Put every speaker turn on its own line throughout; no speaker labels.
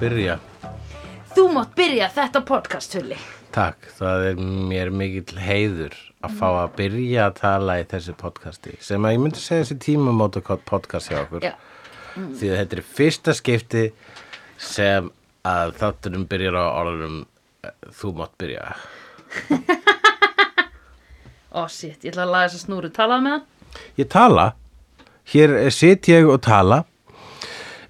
byrja
Þú mátt byrja þetta podcast, Hulli.
Takk, það er mér mikill heiður að fá að byrja að tala í þessu podcasti sem að ég myndi segja þessi tímamóta podcast hjá okkur
Já.
því að þetta er fyrsta skipti sem að þáttunum byrjar á orðunum eh, þú mátt byrja
Ó, shit, ég ætla að laga þess að snúru. Talaðu með hann?
Ég tala, hér eh, sit ég og tala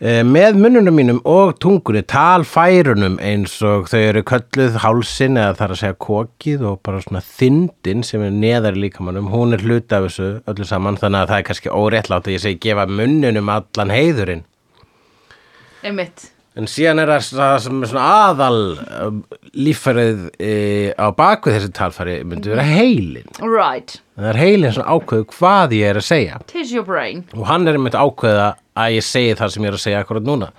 eh, með munnunum mínum og tungunni talfærunum eins og þau eru kölluð hálsin eða þar að segja kokið og bara svona þyndin sem er neðar í líkamannum, hún er hluti af þessu öllu saman þannig að það er kannski óréttlátt að ég segi gefa munnunum allan heiðurinn
Einmitt.
En síðan er það það sem er svona aðal eh, líffærið e, á baku þessi talfæri myndi vera heilin.
Right.
Það er heilin svona ákveðu hvað ég er að segja.
Tis your brain.
Og hann er einmitt ákveða að ég segi það sem ég er að segja akkurat núna.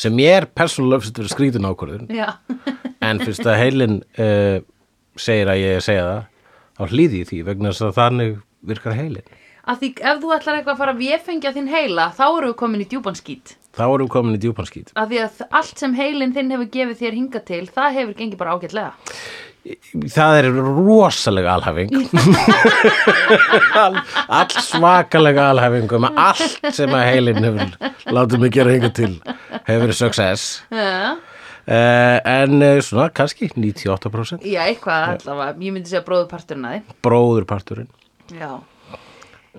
Sem ég er persónulega fyrst verið skrítin ákvörðun.
Já.
En fyrst að heilin e, segir að ég er að segja það, þá hlýði ég því vegna þess að þannig virkar heilin.
Af því ef þú ætlar eitthvað að fara að véfengja þinn heila, þá eru við komin í djúbanskít.
Þá erum við komin í djúpanskít.
Af því að allt sem heilin þinn hefur gefið þér hinga til, það hefur gengið bara ágætlega.
Það er rosalega alhæfing All, Allt svakalega alhæfing um allt sem að heilin hefur látið mig gera hengar til hefur verið success
Já.
uh, en uh, svona kannski 98%
Já, eitthvað allavega. Ég myndi segja bróðuparturinn að þið.
bróðurparturinn
Já.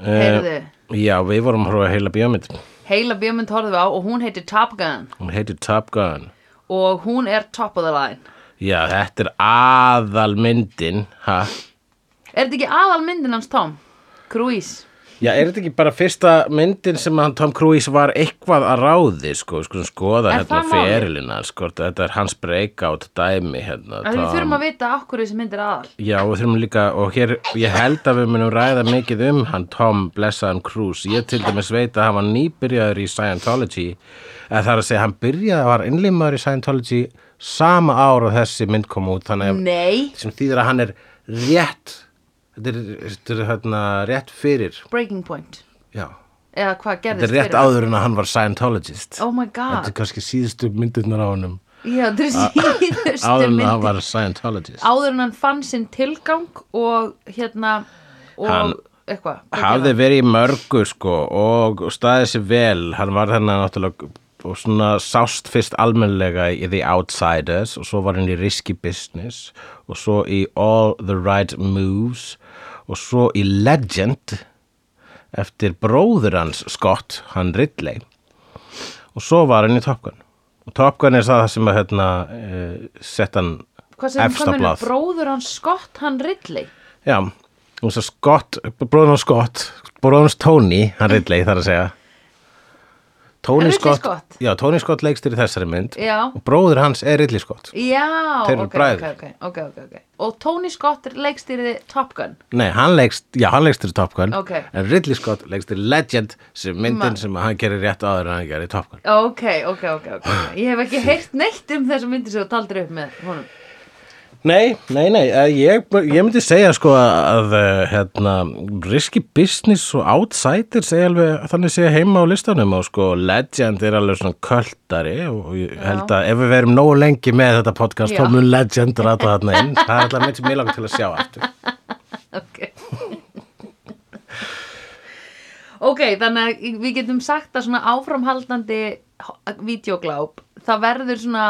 Heyrðu,
uh, Já, við vorum að horfa að heila bíómynd
heila bíómynd horfum við á og hún heitir Top Gun
hún heitir Top Gun
og hún er top of the line.
Já, þetta er aðalmyndin ha?
Er þetta ekki aðal myndin hans Tom? Cruise.
Já, er þetta ekki bara fyrsta myndin sem hann Tom Cruise var eitthvað að ráði, sko, sko, skoða
Er
hérna
það málið?
ferilina, sko, þetta er hans breakout dæmi hérna.
Það við
Tom.
þurfum að vita okkur þessi mynd er aðal.
Já, og þurfum líka, og hér, ég held að við munum ræða mikið um hann Tom blessaðan Cruise. Ég til dæmis veit að hann var nýbyrjaður í Scientology, eða það er að segja, hann byrjaði að var innlimaður í Scientology sama ára og þessi mynd kom út, þannig
Mm.
að,
Nei.
sem þýðir að hann er rétt, þetta er, þetta er hérna, rétt fyrir,
Breaking Point.
já.
Eða hvað gerðist
Þetta er rétt
fyrir það?
áður en að hann var Scientologist.
Oh my
Þetta
god.
er kannski síðustu myndirnar á honum.
Já, þetta er síðustu
Áður en að hann
myndin.
var Scientologist.
Áður en hann fann sinn tilgang og hérna og
Hann
eitthvað. Hvað
Hafði
gerði hann?
verið í mörgu sko og staðið sér vel. Hann var þennan náttúrulega og svona sást fyrst almennlega í The Outsiders og svo var hann í Risky Business og svo í All the Right Moves og svo í Legend eftir bróður hans Scott, hann Ridley og svo var hann í Top Gun og Top Gun er það sem að hérna, uh, sett hann
Hvað sem
efst á
hvað mennur
blað.
bróður hans Scott, hann Ridley?
Já, og svo Scott, bróðun hans Scott, bróðun hans Tony, hann Ridley þar að segja. Tony
Ridley
Scott,
Scott?
Já, Tony Scott leikstir í þessari mynd
Já.
og bróður hans er Ridley Scott.
Já,
Þeir eru
ok, ok,
bræður.
ok, ok, ok, ok. Og Tony Scott leikstýriði Top Gun.
Nei, hann leikst, já, hann leikst í Top Gun,
Ok.
en Ridley Scott leikst í Legend sem myndin
Ma-
sem hann gerir rétt áður en hann gerir í Top Gun.
Ok, ok, ok, ok. Ég hef ekki heyrt neitt um þessa myndi sem þú taldir upp með honum.
Nei, nei, nei, eh, ég, ég myndi segja sko að, eh, hérna, Risky Business og Outsiders er alveg, þannig sé heima á listanum og sko Legend er alveg svona kvöldari og ég held að ef við verum nógu lengi með þetta podcast
Já.
þá mun Legend rata þarna inn, það er alltaf mynd sem ég langar til að sjá aftur.
Ok. ok, þannig að við getum sagt að svona áframhaldandi videogláp, það verður svona,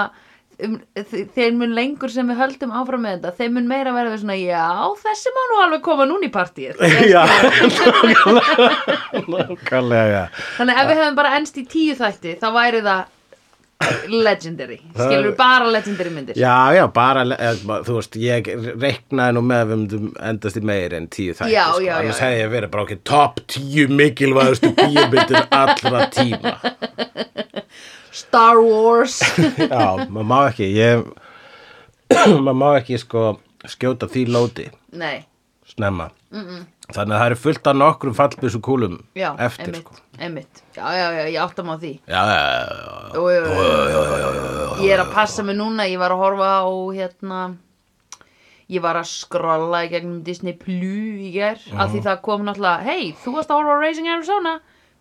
um, þ- þeir mun lengur sem við höldum áfram með þetta, þeir mun meira verður svona, já, þessi má nú alveg koma núna í partíið.
Já, nákvæmlega,
Þannig að ef við hefum bara ennst í tíu þætti, þá væri það legendary.
Það-
Skilur bara legendary myndir.
já, já, bara, eh, þú veist, ég reiknaði nú með að við myndum endast í meir en tíu þætti,
Já,
sko,
já, já,
annars
já.
hefði ég verið bara okkur topp tíu mikilvægustu bíubyttur allra tíma.
Star Wars.
Já, maður má ekki ég, maður má ekki sko skjóta því lóti
Nei,
snemma -mm. þannig að það eru fullt af nokkrum fallbissu kúlum
já,
eftir
einmitt,
sko
einmitt. Já, já, já, ég áttam á því.
Já, já, já, já.
Jú, jú, jú, jú, jú, jú. Ég er að passa mig núna, ég var að horfa á, hérna, ég var að skrolla í gegnum Disney Plus í ger, af því það kom náttúrulega, hei, þú varst að horfa á Raising Arizona,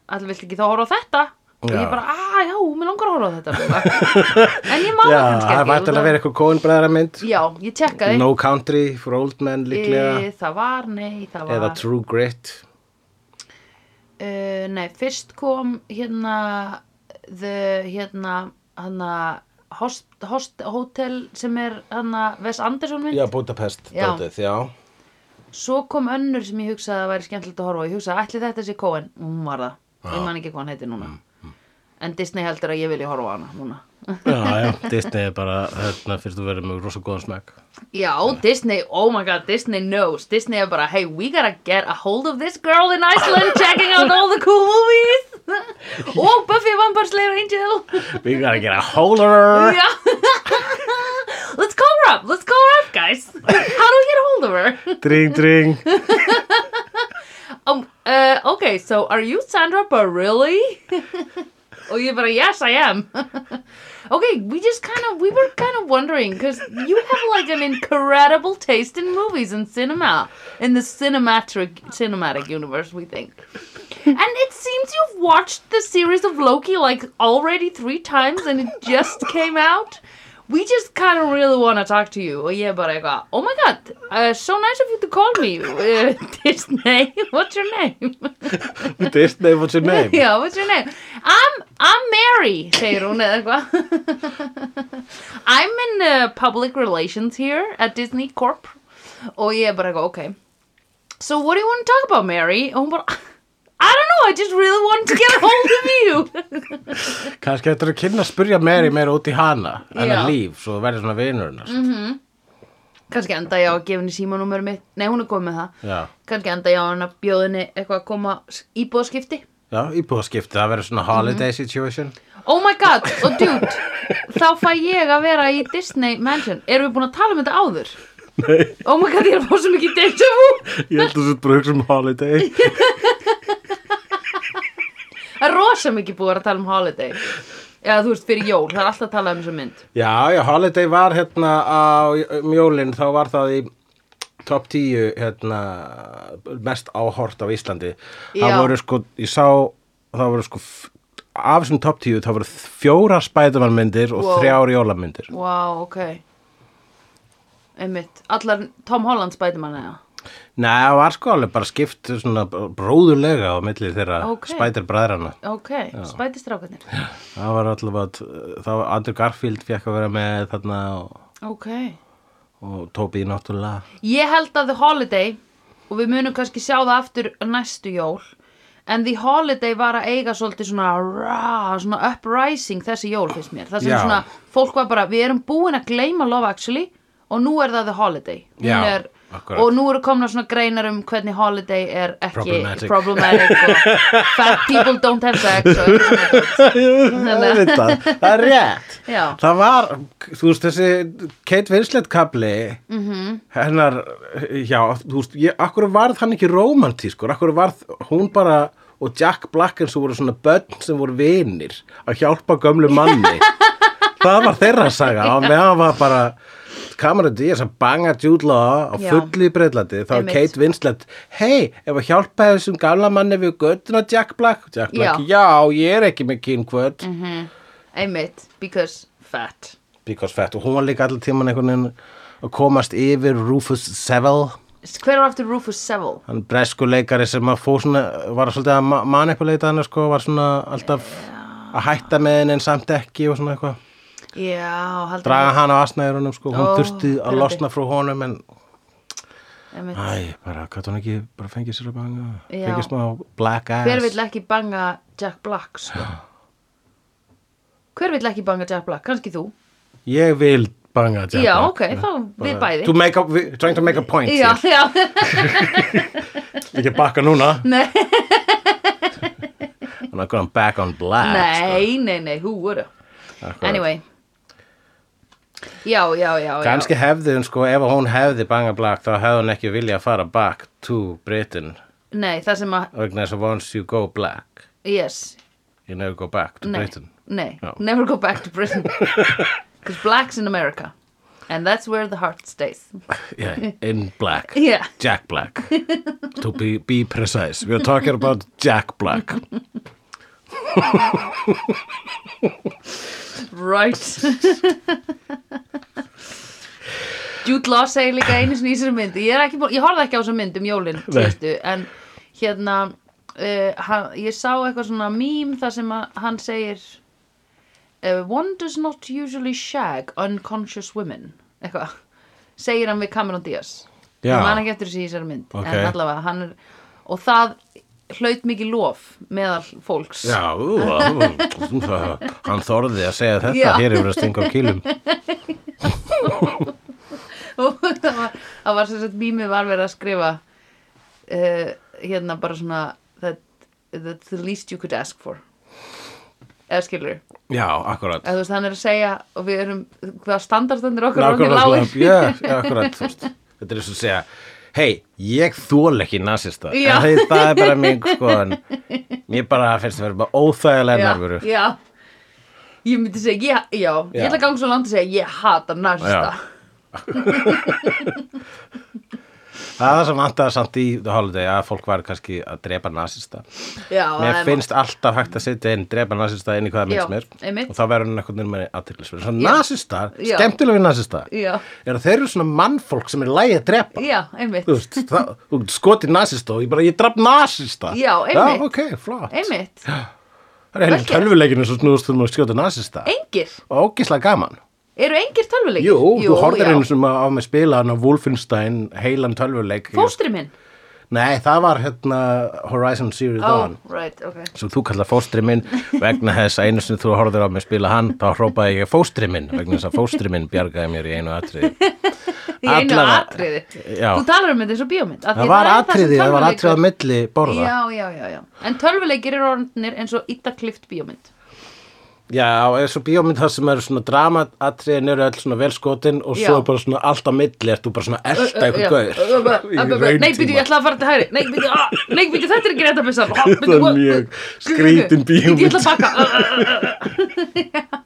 allir vilt ekki þá horfa á þetta? og
Já.
ég bara, að já, mér langar að horfa á þetta en ég má það
Já,
kannski
það er
ekki
vært
út
að
af-
vera eitthvað kóinbræðra mynd
já, ég tjekkaði
No Country for Old Men líklega
Eh, það var, nei, það var
eða True Grit
uh, nei, fyrst kom hérna the, hérna, hana host, host, hotel sem er hana Wes Anderson mynd
Já, Budapest
Já.
dótið, já
svo kom önnur sem ég hugsaði að væri skemmtilegt að horfa á. ég hugsaði, ætli þetta sé Cohen hún var það, ég man ekki hvað hann heiti núna en Disney heldur að ég vilji horfa á hana núna
Já, já, Disney er bara hérna fyrst þú verður með rosa góðan smekk
já, Disney, oh my god, Disney knows Disney er bara, hey, we gotta get a hold of this girl in Iceland checking out all the cool movies og Buffy Vampire Slayer Angel
We gotta get a holder
Yeah. let's call her up. Let's call her up, guys. How do we get a hold of her?
Dring, dring
Um, uh, okay, so are you Sandra Bareilly? oh, you but yes, I am. okay, we just kind of we were kind of wondering because you have like an incredible taste in movies and cinema in the cinematic cinematic universe. We think. And it seems you've watched the series of Loki like already three times and it just came out. We just kind of really want to talk to you. Oh, yeah, but I got. Oh my god, uh, so nice of you to call me. Uh, Disney, what's your name?
Disney, what's your name?
Já, what's your name? I'm, I'm Mary, segir hún eða eitthvað. I'm in uh, public relations here at Disney Corp. Og ég er bara eitthvað, ok. So what do you want to talk about, Mary? Og hún bara, I don't know, I just really want to get a hold of you.
Kannski þetta er að kynna að spurja meiri meira út í hana en
Já. Mhm.
að líf, svo þú verður svona vinur hennar mm -hmm.
Kannski enda ég á að gefa henni símanúmer mitt. Nei, hún er góð með það.
Já,
Kannski enda ég á hann að bjóða henni eitthvað að koma íbúðskipti.
já íbúðaskipti, það verður svona holiday
Mhm.
situation
Oh my god, og dude, þá fæ ég að vera í Disney Mansion. Erum við búin að tala um þetta áður?
Nei,
Oh my god, ég er að fá svo mikið deja vu
ég held að þetta bara hugsa um holiday
Það er rosa mikið búið að vera að tala um holiday Já, þú veist, fyrir jól, það er alltaf að tala um þessu mynd
Já, já, holiday var hérna á mjólin, þá var það í top 10 hérna, mest áhort á Íslandi
Já.
það voru sko, ég sá það voru sko, f- af þessum top 10 það voru fjóra spædumarmyndir og
Wow.
þrjár jólamyndir
Vá, ok Einmitt, allar Tom Holland Spiderman eða
Nei, það var sko alveg bara skipt svona bróðulega á milli þeirra
Ok.
okay. spædurbræðrana
Ok, Spiderstrákarnir
það var allavega, það var Andrew Garfield fekk að vera með þarna og,
Ok
og Tobi náttúrulega
Ég held að The Holiday og við munum kannski sjá það aftur næstu jól en The Holiday var að eiga svolítið svona, rah, svona uprising þessi jól fyrst mér það sem
Já.
svona, fólk var bara, við erum búin að gleyma Love Actually og nú er það The Holiday Hún
Já,
er,
akkurat.
og nú eru komna svona greinar um hvernig Holiday er ekki
Problematic.
problematic og fat people don't have sex og eitthvað svona dót.
Auðvitað, það er rétt
Já.
það var, þú veist þessi Kate Winslet kabli
Mhm.
-hmm. hennar, já, þú veist ég, akkur varð hann ekki romantískur akkur varð hún bara og Jack Black eins og voru svona börn sem voru vinir að hjálpa gömlu manni það var þeirra saga á meðan var bara Cameron Diaz að banga Jude Law á
Já.
fullu í breylandi þá er
Einmitt.
Kate Winslet hei, ef að hjálpa þessum gamla manni við göttuna Jack Black Jack Black,
Já.
já, ég er ekki með kynkvöld
einmitt, because fat
because fat og hún var líka allir tíman einhvern veginn að komast yfir Rufus Seville
hver var aftur Rufus Seville?
hann breskuleikari sem að fór svona var svolítið að ma- manipuleita hann sko, var svona alltaf að hætta með henni en samt ekki og svona eitthvað
Já, haldur
draga hann á asnæðurunum sko, hún
Ó,
þurfti að
pirrandi.
losna frá honum en
einmitt.
æ, bara hvað hún ekki bara fengið sér að banga
Já.
fengið smá black ass
Hver vill ekki banga Jack Black sko? Hver vill ekki banga Jack Black? Kannski þú
ég vil banga Jack
Já,
Black,
ok, þá við bæði
To make a, we- trying to make a point
Já,
hér.
já,
ekki bakka núna
Nei.
I'm not going back on black
nei, nei, nei, hú voru
sko. Akkurat.
Anyway Já, já, já, já
Kanski hefði hún sko, ef hún hefði banga black þá hefði hún ekki vilja að fara back to Britain
Nei, það sem að,
vegna þess að once you go black
yes
you never go back to
Nei,
Britain
nei,
Já.
never go back to Britain Because black's in America And that's where the heart stays
yeah, in black,
Yeah.
Jack Black to be, be precise, we're talking about Jack Black
Right Jude Law segir líka einu sinni í þessari mynd ég, er ekki búin, ég horfði ekki á þessari mynd um jólin
Nei.
síðustu, en hérna uh, hann, ég sá eitthvað svona mím þar sem að, hann segir uh, one does not usually shag unconscious women eitthvað, segir hann við Cameron Diaz
Já.
ég man ekki eftir þessi í þessari mynd
Ok.
en allavega hann er og það hlaut mikið lof meðal fólks
Já, ú, ú, hann þorði að segja þetta
Já.
hér yfir að stinga á kýlum.
og það var, það var sem sagt mýmið var verið að skrifa uh, hérna bara svona that, that's the least you could ask for eða skilur
Já, akkurat.
eða þú veist hann er að segja og við erum hvað standarstendur okkar eru orðnir
Nákvæmlega,
lágir.
já, já, akkurat, þú veist. Þetta er eins og að segja, hei, ég þól ekki nasista.
Já.
En þeir, það er bara mín, sko, en mér bara finnst það verið bara óþægilega nærveru.
já, já ég myndi segja, ég, já, ég
Já.
ætla að ganga svo langt að segja ég hata narsta
Já. Það er það sem vantaði samt í The Holiday að fólk var kannski að drepa nasista.
já, það
Mér
er-
finnst alltaf hægt að setja inn, drepa nasista inn í hvaða mynd
Já,
sem er
einmitt.
og þá verður hann einhvern veginn með aðtillisverð. Svo
Já.
nasistar,
Já.
skemmtilegi nasista,
Já.
er að þeir eru svona mannfólk sem er lægi að drepa.
já, einmitt
þú veist, það, þú getur skotið nasista og ég bara, ég draf nasista
Já, einmitt.
Já, ok, flott
einmitt,
Það er heilir
Vel gert.
tölvuleikinu sem snúðust þú að skjóta nasista
engir
og ógislega gaman
eru engir tölvuleik
Jú, þú horfir
já.
einu sem á mig spilaðan á Wolfenstein heilan tölvuleik
fóstri minn
Nei, það var hérna Horizon Zero
oh,
Dawn
right, okay.
sem þú kallar fóstri minn vegna þess að einu sem þú horfir á mig spila hann þá hrópaði ég fóstri minn vegna þess að fóstri minn bjargaði mér í einu atriði
í einu
Allavega.
atriði
Já.
þú talar um þetta eins og bíómynd af því
Það var
er sem
atriði, það var
tölvuleikur-
atriði á milli borða
já, já, já, já. en tölvuleikir eru orðnir eins og yttaklift bíómynd
Já, eins og bíómynd það sem eru svona dramaatriðin eru öll svona velskotin og
Já.
svo er bara svona allt á milli, ert þú bara svona að elta
Já.
eitthvað gauður
Nei, byrju, ég ætla að fara til hæri Nei, byrju, ah, nei, byrju, þetta er ekki rétt að byrja
Það er mjög skrítin
Ég ætla
bíómynd
að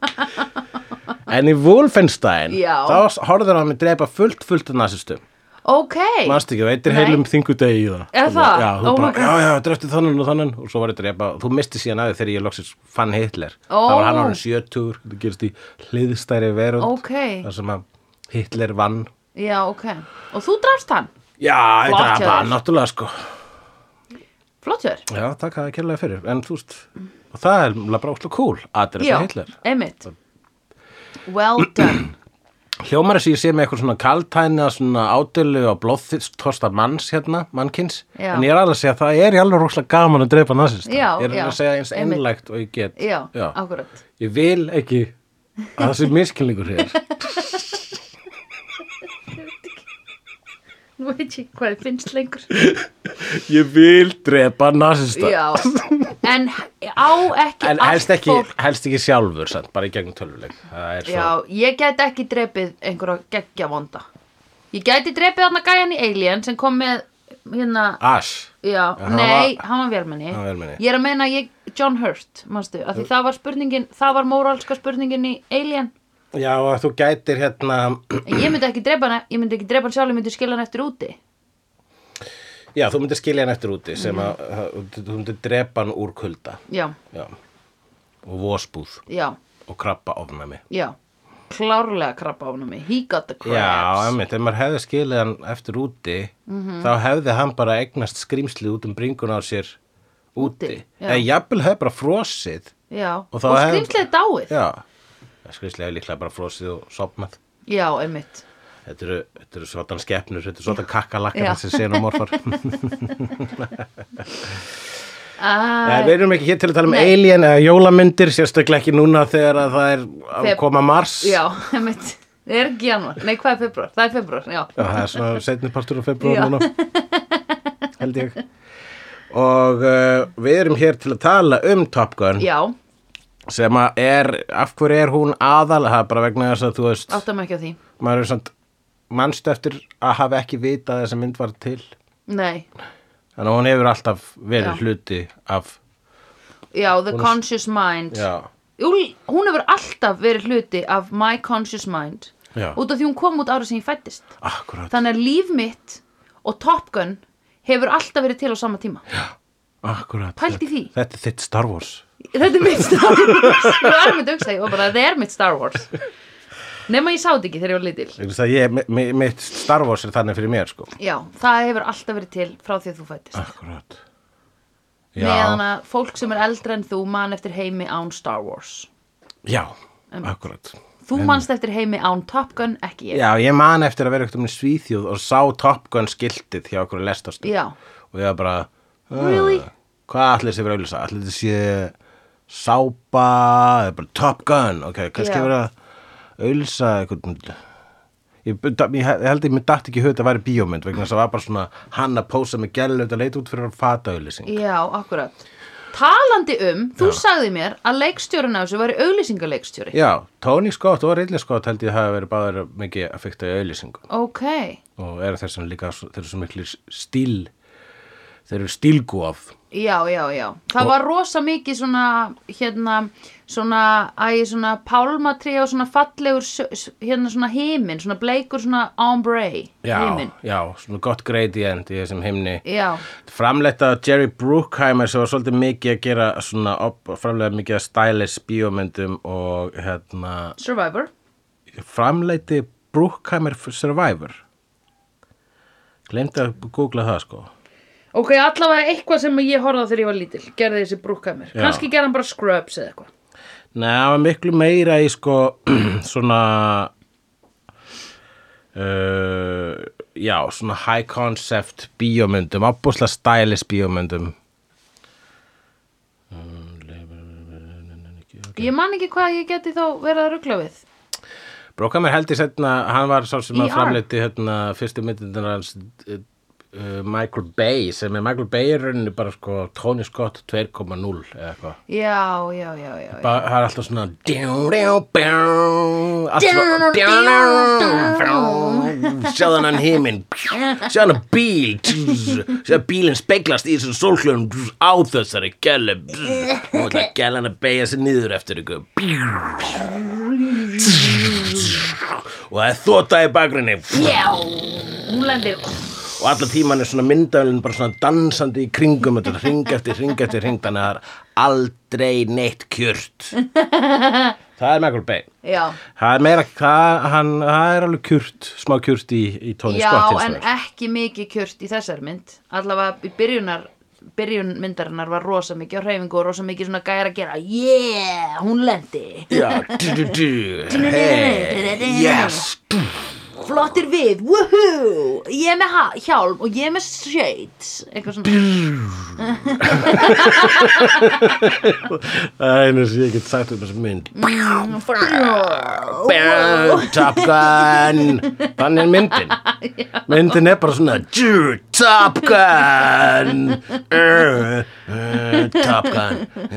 baka
En í Wolfenstein,
Já.
þá horfður hann með drepa fullt, fullt af nasistum
Ok
Manst ekki, veitir
Nei.
heilum þingudegi í það
Er það?
Já, þú
Oh my
bara,
God.
já, já, drefti þannan og þannan og svo var ég drepa, þú misti síðan aðeins þegar ég loksins fann Hitler
Ó.
Það var hann árið 70, þetta gerist í hliðstæri verund
Ok.
þar sem að Hitler vann
Já, ok Og þú drafst hann
Já,
Flott
þetta er bara
hjá þér.
náttúrulega sko
Flott hjá þér
Já, takk að það kærlega fyrir, en þú veist og það er mjög bara óslega cool að drepa
Já,
Hitler
einmitt Well done
Hljómar þess að ég sé með eitthvað svona kaltæna svona ádölu og blóðþosta manns hérna, mannkins,
Já.
en ég er alveg að segja að það er í alveg rosalega gaman að drepa nazista
Já,
Ég er að reyna
já,
að segja eins
einmitt.
einlægt og ég get
Já, akkurat
Ég vil ekki að það sé miskilningur hér
Nú veit ég hvað þið finnst lengur
Ég vil drepa nazista
Já, en á ekki
En
allt
helst ekki,
fólk
helst ekki sjálfur sant, bara í gegnum tölvuleik Það er svo
Já, ég gæti ekki drepið einhverja geggja vonda Ég gæti drepið hann að gæjan í Alien sem kom með hérna
Ash
Já,
Ah. hann
nei,
var-
hann var vélmenni
Hann var vélmenni.
Ég er að meina ég, John Hurt, manstu af Því það var spurningin, það var móralska spurningin í Alien
Já, að þú gætir hérna
En ég myndi ekki drepa hann, ég myndi ekki drepa hann sjálf Ég myndi skila hann eftir úti
Já, þú myndir skilja hann eftir úti sem að, að þú myndir drepa hann úr kulda
Já,
Já. Og vósbúð
já,
og krabba ofnæmi.
já Klárlega krabba ánum mig, he got the
Já,
crabs Mhm.
emmitt, ef maður hefði skilið hann eftir úti, þá hefði hann bara eignast skrýmslið út um bringun á sér úti.
Úti, já.
Eða jafnvel hefði bara frosið.
Já,
Og
og,
þá
og
hef-
skrýmslið dáið Já,
Já, skrýmslið hefði líklega bara frosið og sopnað.
einmitt
Þetta eru, þetta eru svotan skepnur, þetta eru svotan
Já.
kakkalakkar þessi xenomorfar.
ah,
Nei, Eh, við erum ekki hér til að tala um
Nei.
alien eða jólamyndir, sérstaklega ekki núna þegar að það er að
Feb-
koma mars.
Já, einmitt Það er ekki janúar, nei hvað er februar, það er februar, já
Já, það er svona setni partur á
Já.
februar núna, held ég. Og uh, við erum hér til að tala um Top Gun
Já,
sem að er, af hverju er hún aðal, það er bara vegna þess að þú veist,
áttum ekki á því
maður er svona, mannstu eftir að hafa ekki vitað að þessa mynd var til.
Nei,
Þannig að hún hefur alltaf verið
Já.
hluti af,
já, The Conscious Mind
já,
Júl, Hún hefur alltaf verið hluti af My Conscious Mind
Já.
Út af því hún kom út ára sem ég fættist
akkurat,
Þannig að líf mitt og Top Gun hefur alltaf verið til á sama tíma já.
Akkurat.
Pældu í því.
Þetta er þitt Star Wars.
þetta er mitt Star Wars það var mitt hugsa, ég var bara, þetta er mitt Star Wars nema ég sá þetta ekki þegar ég var litil
Vegna þess að Ég, mi- mi- mitt Star Wars er þannig fyrir mér, sko.
já, það hefur alltaf verið til frá því að þú fættist
Akkurat.
meðan
Já,
að fólk sem er eldra en þú man eftir heimi án Star Wars
já, akkurat.
þú manst eftir heimi án Top Gun, ekki ég
Já, ég man eftir að vera eitthvað um svíþjóð og sá Top Gun skiltið hjá okkur lestastu.
Já.
Og ég var bara, "Ah,
Really?
hvað allir þessi verið auðvitað? Allir þessi sápa, eða bara Top Gun, ok, kannski
Já.
vera auðvitað eitthvað... Ég, ég, ég held að ég mér datt ekki í hug að þetta væri bíómynd vegna þess að það var bara svona hann að pósa með gælulega að leita út fyrir að fata auðlýsing.
já, akkurat talandi um, þú sagði mér að leikstjórun á þessu væri auglýsingaleikstjóri
Já, Tony Scott og Ridley Scott held ég hafa verið báðir mikið að fykta í auðlýsingu.
ok,
og eru þess vegna líka svo- þeir eru svo miklu stíl þeir eru stílgóð
já, já, já það var rosa mikið svona hérna, svona, æ, svona pálmatri og svona fallegur s- s- hérna svona himin, svona bleikur svona ombre
já,
himin
já, svona gott gradient í þessum himni
já,
framleitt af Jerry Bruckheimer sem var svolítið mikið að gera svona op- framleitt mikið að stylish bíómyndum og hérna
Survivor
framleitti Bruckheimer Survivor glemdi að googla það sko
ok, allavega eitthvað sem ég horfði á þegar ég var lítil gerði þessi brúkað mér,
Já.
kannski gerði hann bara Scrubs eða eitthvað
Nei, það var miklu meira í sko svona uh, já, svona high concept bíómyndum, ábúslega stylish bíómyndum
Ég man ekki hvað ég geti þá verið að ruggla við.
Brókamir heldur setna, hann var sá sem að
ER.
framleiti hérna, fyrstu myndindar hans uh, uh, Michael Bay sem er Michael Bay er í rauninni bara sko Tony Scott 2.0 eða eitthvað
Já, já, já, já. já.
Ba- Það er alltaf svona djá, djá, bjá, allt svona
Djá,
djá,
djá,
djá, sjáðan hann heiminn sjáðan hann bíl sjáðan bílinn speglast í þessum sólhljóðum á þessari gælu og það gælan að beigja sér niður eftir ykkur og það er þóta í bakgrunni
Já, hún lendir.
og allan tíman er svona myndavölin bara svona dansandi í kringum þetta ring eftir ring eftir ring þannig að það er aldrei neitt kjört það er Michael Bay
Já,
það er meira, það, hann, það er alveg kjört smá kjört í, í Tony
já
Scott hins
en
vegar.
ekki mikið kjört í þessar mynd. Allavega í byrjunar, byrjun myndarinnar var rosa mikið á hreyfingu og rosa mikið svona gæra að gera. Yeah, hún lendi.
já, du, du, du, hey, yes
Flottir við, woohoo, ég er með ha- hjálm og ég er með shades. Eitthvað svona.
það er einu sem ég get sagt um þessu mynd
Mm, Oh. Wow.
Top Gun þannig er myndin myndin er bara svona "Djú, Top Gun Uh, uh, Top Gun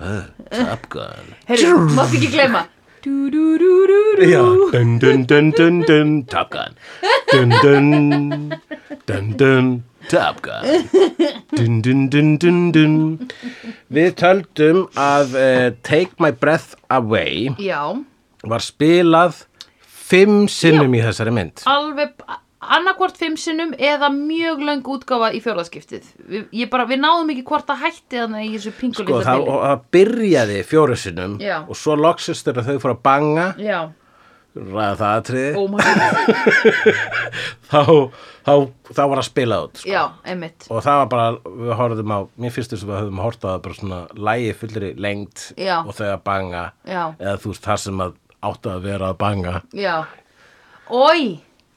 Uh, Top Gun
Heyrðu, mátt ekki glemma. Du-du-du-du-du.
Já, dun dun dun dun dun Top Gun dun dun dun dun Top Gun dun dun dun dun dun Við töldum að uh, Take My Breath Away
Já.
var spilað fimm sinnum í þessari mynd
alveg annarkvort fimm sinnum eða mjög löng útgáfa í fjóðarskiptið. Ég bara, við náðum ekki hvort að hætti þannig í þessu
sko,
pingulita
það, og það byrjaði fjóru sinnum
Já.
og svo loksist þegar þau fóru að banga
Já,
ræða það atriði
oh my god,
þá, þá, þá var það spilað út sko.
já, einmitt.
og það var bara, við horfðum á mér finnst þess að við höfum hort á það bara svona lægi fullri lengt
Já.
og þau að banga
Já.
eða þú veist það sem að áttu að vera að banga
Já. Ói,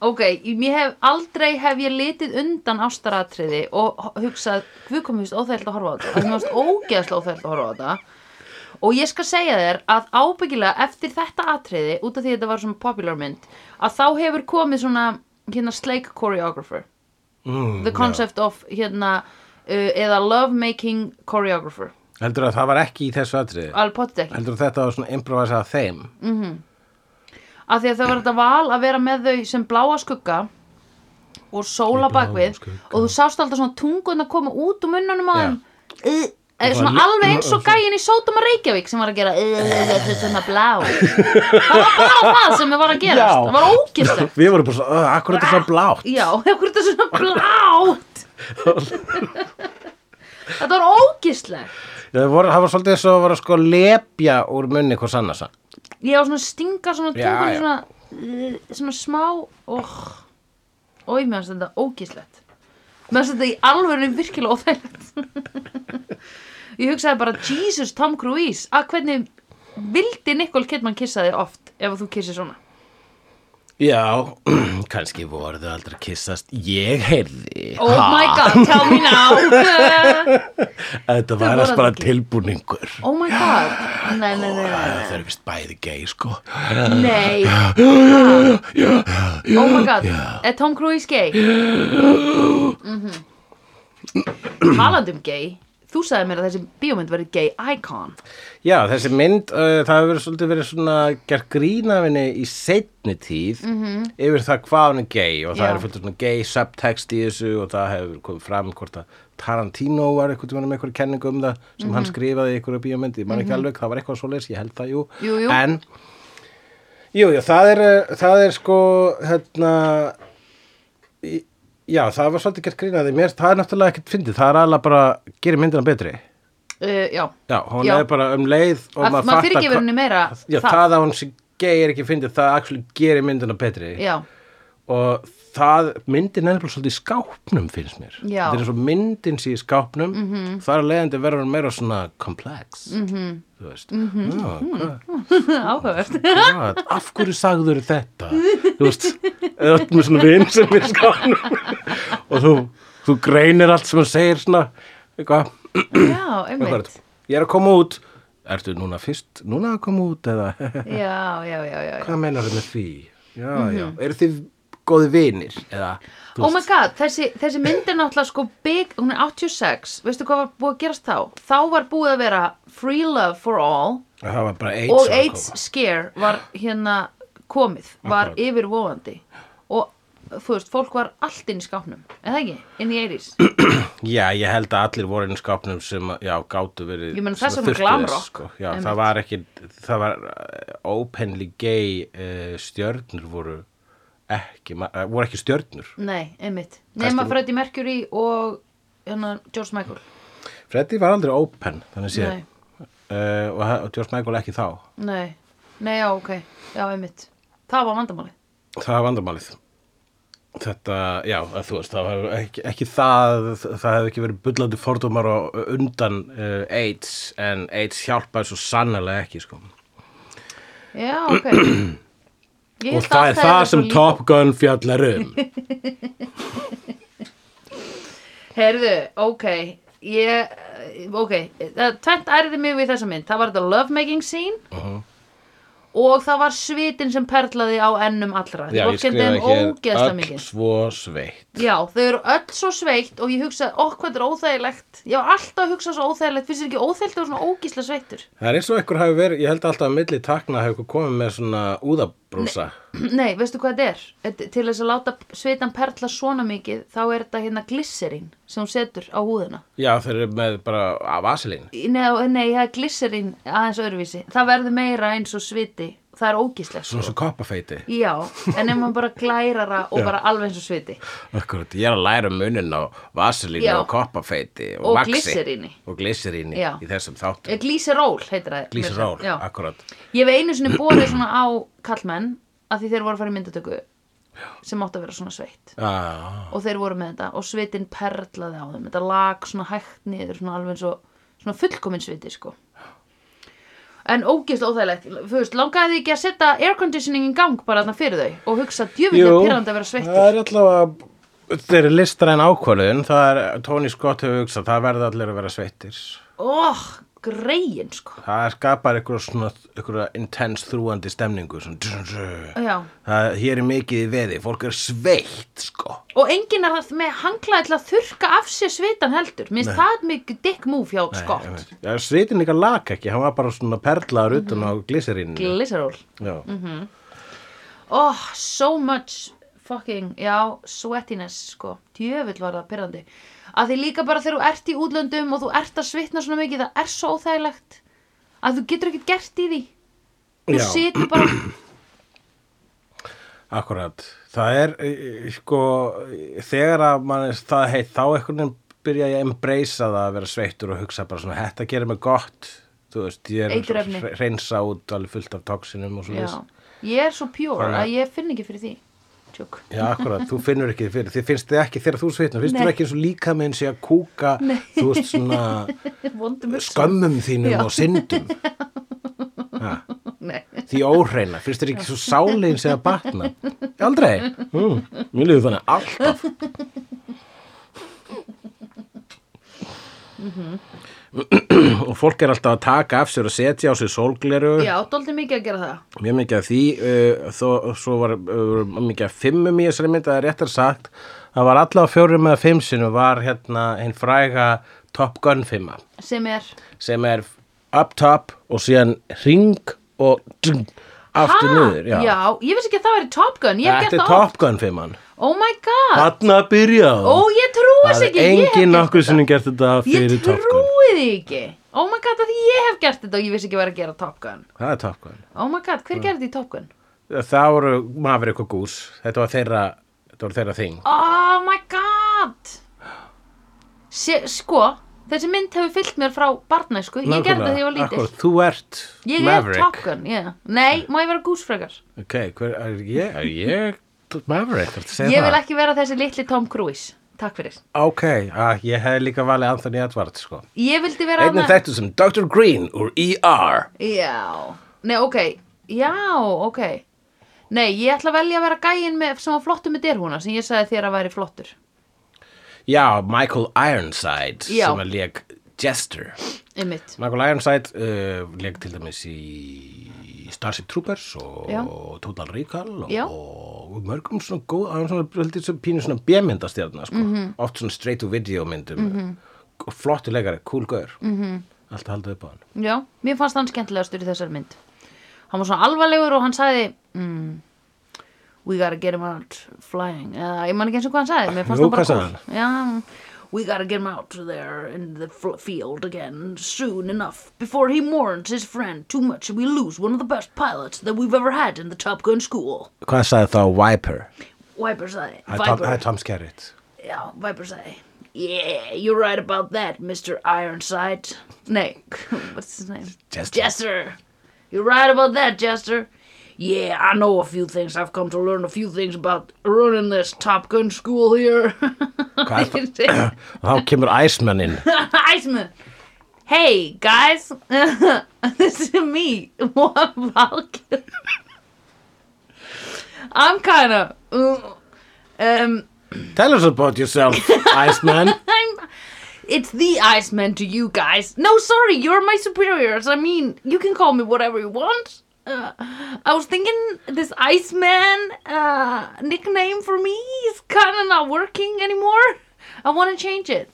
ok, mér hef, aldrei hef ég litið undan ástaratriði og ho- hugsað, hvað komist óþægild að horfa á þetta? Það komist ógeðslega óþægild að horfa á þetta. Og ég skal segja þér að ábyggilega eftir þetta atriði, út af því að þetta var svona popular mynd, að þá hefur komið svona hérna sleik choreographer.
mm,
the concept of hérna uh, eða love making choreographer
heldur að það var ekki í þessu atriði
alveg potið ekki
heldur að þetta var svona improvisað af þeim
af því að það var þetta val að vera með þau sem bláa skugga og sóla
Í bláum
bakvið
skugga.
og þú sást alltaf svona tungun að koma út úr munnunum á
Já.
þeim yeah. svona
var-
alveg eins og gæin í Sótum og Reykjavík sem var að gera þetta er svona blá það var bara það sem við var að gerast
Já.
það var ógislegt
við vorum bara svona, akkur þetta er svona blátt
já, af hverju er þetta svona blátt Þetta var ógislegt.
Það var, það var svolítið eins og að vera sko að lepja úr munni hvers annars
Ég var svona að stinga svona
Já,
tungunni
já.
svona, uh, svona smá og Ói, mér finnst þetta ógislegt. Mér finnst þetta í alvöru virkilega óþægilegt. ég hugsaði bara, Jesus, Tom Cruise, að hvernig vildi Nicole Kidman kissa þig oft ef þú kissir svona?
Já, kannski voru þau aldrei að kyssast Ég heyrði
Oh my god, tell me now.
Þetta
Þau
var
voru
að bara
aldrei að kyssast.
tilbúningur
oh my god. Nei, nei, nei, nei.
Það eru vist bæði gei sko
Nei
Já,
Oh my god, er Tom Cruise gay? Mm Talandi um gay Þú sagði mér að þessi bíómynd verið gay icon
Já, þessi mynd, uh, það hefur svolítið verið svona gert grínafinni í setni tíð yfir það hvað hann er gay og það
Mhm. Já.
er fullt af svona gay subtext í þessu og það hefur komið fram hvort að Tarantino var eitthvað tímann með eitthvað kenningu um það sem hann
Mhm.
skrifaði í eitthvað bíómynd, ég man ekki alveg, það var eitthvað svoleiðis, ég held það, jú,
Jú, jú.
en Jú, jú, það er, uh, það er sko, hérna, í- já, það var svolítið gert grínaði, mér, það er náttúrulega ekkert fyndið, það er alveg bara, gerir myndina betri.
uh, Já,
Já, hún
Já.
er bara um leið og
Að-
maður
maður
fattar hva-
fyrirgefur henni meira
Já,
það.
það, að hún sem gay er ekki fyndið, það actually gerir myndina betri
já,
og það, myndin er nefnilega svolítið í skápnum finnst mér
Já.
það
Mhm.
er eins og myndin sé í skápnum mm -hmm. þar að leiðandi verður hún meira svona komplex mm -hmm. þú veist mm
Mhm.
-hmm.
áhugavert
Já, af hverju sagður þetta? Þú veist, eða þú ert með svona vin sem er skanum og þú, þú greinir allt sem hann segir svona, eitthvað,
Já,
eitthvað,
einmitt
ég er að koma út, ertu núna fyrst, núna að koma út eða,
Já, já, já, já, já.
hvað meinar þau með því? Já, já,
Mhm.
eru þið góði vinir eða, þú
Oh my god, þessi, þessi mynd er náttúrulega sko big, hún er 86 Veistu hvað var búið að gerast þá? Þá var búið að vera free love for all
það var bara AIDS,
og
að
AIDS
koma.
scare var hérna komið, var
Akkurat.
yfirvóðandi og þú veist, fólk var allt inn í skápnum, er það ekki? Inn í Eiris
Já, ég held að allir voru inn í skápnum sem, að- já, gátu verið
Ég meina,
sem
þess
að
vegna
þurftu
glam
þess,
rock.
sko. Já,
Einmitt.
það var ekki, það var uh, openly gay uh, stjörnur voru ekki, ma- eh, voru ekki stjörnur
Nei, einmitt, nema
Kannski-
Freddie Mercury og hérna, George Michael
Freddy var aldrei open, þannig sé
Nei.
uh, og, og George Michael ekki þá
Nei, nei, já, ok, já, einmitt Það var vandamáli
Það er vandamálið. Þetta, já, að þú veist, það hefur ekki, ekki það, það hefur ekki verið bullandi fordómar á undan uh, AIDS, en AIDS hjálpaði svo sannlega ekki, sko.
Já, ok Ég
Og
hélt
það
að
er það
hefði
sem
svo lí-
Top Gun fjallar um.
Heyrðu, ok Ég, eh, ok Það- Tvennt ærði mig við þessa mynd Það var þetta lovemaking scene Og það var svitin sem perlaði á ennum allra
já, ég
Fólk
skrifaði
kenndi þeim
hér
ógeðslega
öll
mikið
svo sveitt.
Já, þau eru öll svo sveitt og ég hugsaði, okk, hvað þetta er óþægilegt Ég var alltaf að hugsa svo óþægilegt, finnst þér ekki óþægilegt og svona ógísla sveittur
Það er eins og einhver hafi verið, ég held alltaf að milli takna hefur einhver komið með svona úðabrúsa.
Nei, veistu hvað þetta er? Þetta- Til þess að láta svitan perla svona mikið þá er þetta hérna glisserín sem hún setur á húðina
Já, þeir eru með bara ah, að vasilín.
Nei, nei, það er glisserín aðeins öðruvísi Það verður meira eins og sviti, það er ógíslegt
Svona svo koppafeiti.
Já, en ef maður bara glærara og bara alveg eins og sviti
Akkurat, ég er að læra munin á vasilínu
Já.
og koppafeiti og,
Og
vaxi.
glyseríni.
Og glíseríni
Já.
í þessum þáttum.
Eh, Glíseról heitir það
Glíseról,
Já.
akkurat.
Ég hef einu sinni borðið svona á kallmenn að því þeir voru að fara í myndatöku sem átti að vera svona sveitt
Ah,
og þeir voru með þetta og svitinn perlaði á þeim þetta lag svona hægt niður svona alveg eins og svona fullkomin sviti sko en ógeðslega óþægilegt þú veist, langaði þið ekki að setja air conditioning í gang bara þarna fyrir þau og hugsa djöfilega pyrrandi að vera
það
sveittur
er allavega, þetta er listræn ákvörðun, það er, Tony Scott hefur hugsað, það verða allir að vera sveittir.
óh, greiðin sko
Það skapar einhverja svona, einhverja intense þrúandi stemningu, svona,
já
það, hér er mikið í veði, fólk er sveitt, sko.
og enginn er það með hanglaði til að þurka af sér svitan heldur minnst það mikið dick move hjá Scott
Einmitt. Já, svitin líka lak ekki, hann var bara svona perlaður
Mhm.
utan á glíseríninu.
glisseról
Já.
oh, so much fucking, já, sweatiness sko, djöfull var það pyrrandi að því líka bara þegar þú ert í útlöndum og þú ert að svitna svona mikið, það er svo óþægilegt að þú getur ekkert gert í því þú
Já.
situr bara
Akkurat, það er e, e, sko e, þegar að mann er það heitt þá einhvern veginn byrja ég að embracea það að vera sveittur og hugsa bara svona, þetta gerir mig gott þú veist, ég er
Eiturefni.
hre- hreinsa út alveg fullt af toxinum og svona
Já. Ég er svo pure
Þannig að-
að ég finn ekki fyrir því. Tjók.
Já, akkurat, þú finnur ekki fyrir, þið finnst þið ekki þegar þú sveitnar, finnst
Nei.
þið ekki eins og líka minn sé að kúka, þú veist svona
Vondum hugsun.
skömmum þínum
Já.
og syndum ha,
Nei.
því óhreina, finnst þið ekki svo sálein sé að batna, aldrei mm, mér líður þannig alltaf Mhm. og fólk er alltaf að taka af sér og setja á sig sólgleru
Já, dóldi mikið að gera það.
mjög mikið af því uh, þó, svo var uh, mikið af fimmum í þessari mynd það er réttar sagt það var allavega fjórum eða fimm sinu var hérna hinn fræga Top Gun fimma
Sem er,
sem er up top og síðan ring og dung, aftur
Ha?
niður já.
ég vissi ekki að það væri Top Gun. Ég hef
þetta
gert
er
það oft.
Top Gun fimman
Oh my god.
þarna byrja
Ó, ég trúi
það
þess
er
ekki. Ég hef
engin
gert
nokkuð
þetta.
sinni gert þetta
Ég
fyrir Top Gun
trúi því ekki. Oh my god, að ég hef gert þetta og ég vissi ekki að vera að gera Top Gun.
það er Top Gun
Oh my god,
Mm.
hver gerði því Top Gun?
það voru Maverick og Goose þetta var þeirra, þetta var þeirra þing
Oh my god Se, Sko, þessi mynd hefur fyllt mér frá barnæsku Ég gerði það þegar ég var lítill
Akkurat, þú ert
Ég
Maverick
er Top Gun, já Nei, má ég vera gúsfrekar
Ok, hver er ég? Er ég Maverick? ertu að segja
Ég vil
það?
ekki vera þessi litli Tom Cruise Takk fyrir
Ok, að, ég hefði líka valið Anthony Edwards, sko.
Ég vildi vera
Einnig
hana-
þekktu sem Dr. Green úr E ER.
Já, nei, ok Já, ok Nei, ég ætla að velja að vera gæin með, sem var flottur með derhúna sem ég sagði þér að væri flottur
Já, Michael Ironside
Já.
sem er leik Jester.
Einmitt
Michael Ironside uh, leik til dæmis í Starship Troopers og
Já.
Total Recall og,
Já.
og mörgum svona góð, hann svona, heldur svona pínu svona bjömyndastjarnar, sko.
Mhm.
Oft svona straight to video myndum. Mm -hmm. Flottu leikari, cool gaur. Mm
Mhm.
-hmm. Allt haldið upp á hann.
Já, mér fannst hann skemmtilegastur í þessari mynd. Hann var svona alvarlegur og hann sagði mm, We gotta get him out flying. Eða, ég man ekki eins og hvað hann sagði, mér fannst
Jú,
hann bara
hvað
cool. Já, we gotta get him out there in the fl- field again soon enough before he mourns his friend too much and we lose one of the best pilots that we've ever had in the Top Gun school.
Hvað sagði þá Viper?
Viper sagði,
Það er Tom- það
Viper,
er Tom Skerritt.
já, Viper sagði Yeah, you're right about that, Mr. Ironside. Nei, what's his name?
Jester.
Jester. You're right about that, Jester. Yeah, I know a few things. I've come to learn a few things about running this Top Gun school here.
Hvað er það? Þá kemur Iceman inn.
Iceman. Hey, guys. this is me. One Valkyrie. I'm kind of. Um,
Tell us about yourself, Iceman.
I'm. It's the Iceman to you guys. No, sorry, you're my superiors. I mean, you can call me whatever you want. Uh, I was thinking this Iceman uh, nickname for me is kind of not working anymore. I want to change it.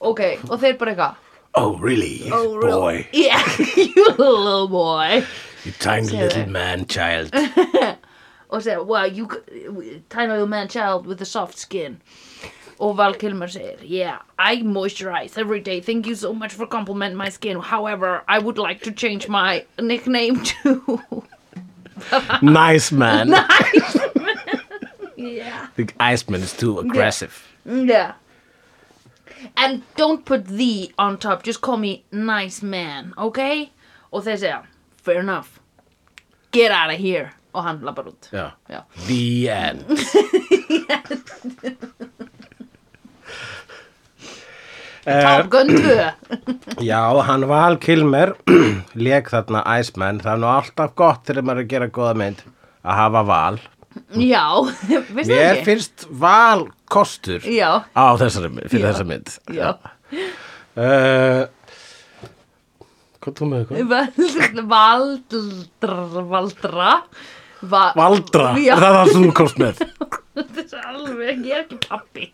Okay, og þeir bara eitthvað.
Oh, really?
"Oh, really?" Yeah, you little boy.
You tiny
it.
man child.
og segja, well, you c- tiny little man child with a soft skin og Val Kilmer segir yeah, I moisturize every day thank you so much for compliment my skin however, I would like to change my nickname to
nice man.
yeah,
The Iceman is too aggressive.
yeah and don't put the on top, just call me nice man, okay og þeir segja, fair enough get out of here og hann lappar út
Já.
Já.
The end.
Top Gun 2
Eh, Já, hann Val Kilmer leik þarna Iceman. Það er nú alltaf gott þegar maður er að gera góða mynd að hafa val.
já, veist það
Mér
ekki?
finnst val kostur
Já.
á þessari, my- fyrir
Já.
þessa mynd.
já
Uh, hvað þú með
Um,
eitthvað?
Völd- Valdra Valdra Va
Valdra,
Já.
er það það sem þú komst með?
Þetta er svo alveg, ég er ekki pappi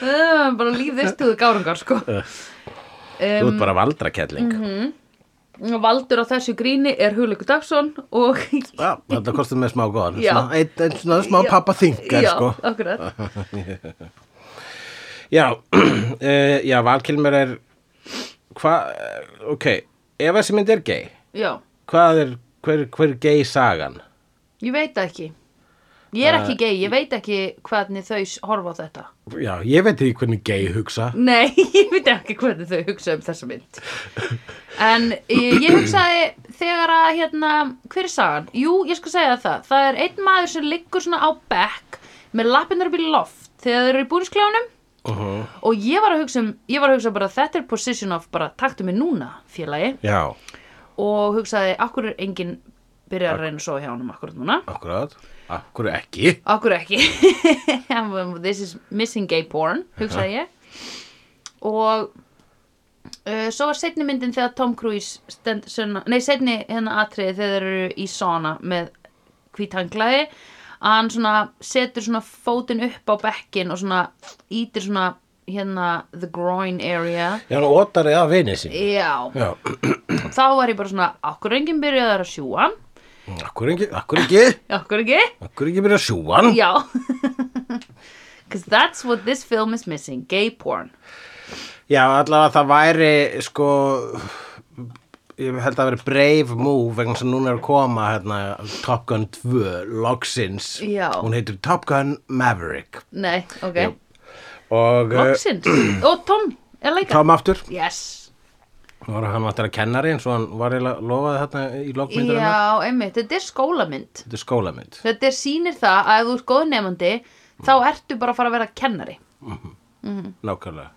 Uh, Bara líf þess til þú gárungar sko
Þú
Um,
ert bara valdrakelling. Mm -hmm.
Valdur á þessu gríni er Hugleikur Dagsson og
Já, þetta kostum með smá góðan.
Já.
Svona, einn, einn svona smá
Já.
pappa þingar,
Já,
sko.
akkurat
Já, uh, já, valkilmer er, hvað, ok, ef þessi mynd er gay,
Já,
hvað er, hver, hver er gay sagan?
ég veit það ekki Ég er ekki gei, ég veit ekki hvernig þau s- horfa á þetta.
Já, ég veit ekki hvernig gay hugsa.
Nei, ég veit ekki hvernig þau hugsa um þessa mynd. En ég, ég hugsaði þegar að, hérna, hver er sagan? Jú, ég skal segja það. Það er einn maður sem liggur svona á bekk með lappinnar upp í loft þegar þau eru í búningskljónum
Uh -huh.
og ég var að hugsa um, ég var að hugsa bara þetta er position of bara taktu mig núna félagi
Já,
og hugsaði akkur er enginn byrjað að reyna að sofa hjá honum akkur núna
akkurat. Akkur ekki.
Akkur ekki This is missing gay porn hugsaði ég og uh, svo var setni myndin þegar Tom Cruise stend, sunna, nei setni hérna atriði þegar þeir eru í sauna með hvítanglaði að hann svona setur svona fótinn upp á bekkin og svona ítir svona hérna the groin area
Já, hann ótar eða vinið sín.
já,
Já,
þá var ég bara svona akkur enginn byrjaðar að sjúa hann
akkur ekki, akkur ekki,
akkur ekki
akkur ekki byrja að sjúa hann.
Já Because that's what this film is missing Gay porn
Já, allavega það væri, sko, ég held að það væri brave move vegna sem núna er að koma, hérna, Top Gun 2, Logsins.
Já.
Hún heitir Top Gun Maverick.
Nei, ok
Jú. Og eh,
Loksins Og Tom er leika
Tom aftur,
Yes
Nú var hann aftur að kennari eins og hann var eiginlega lofaði hérna í lokmyndur hennar.
Já, einmitt, þetta er skólamynd
Þetta er skólamynd.
Þetta er sýnir það að ef þú ert góð nefandi þá ertu bara að fara að vera kennari
Nákvæmlega.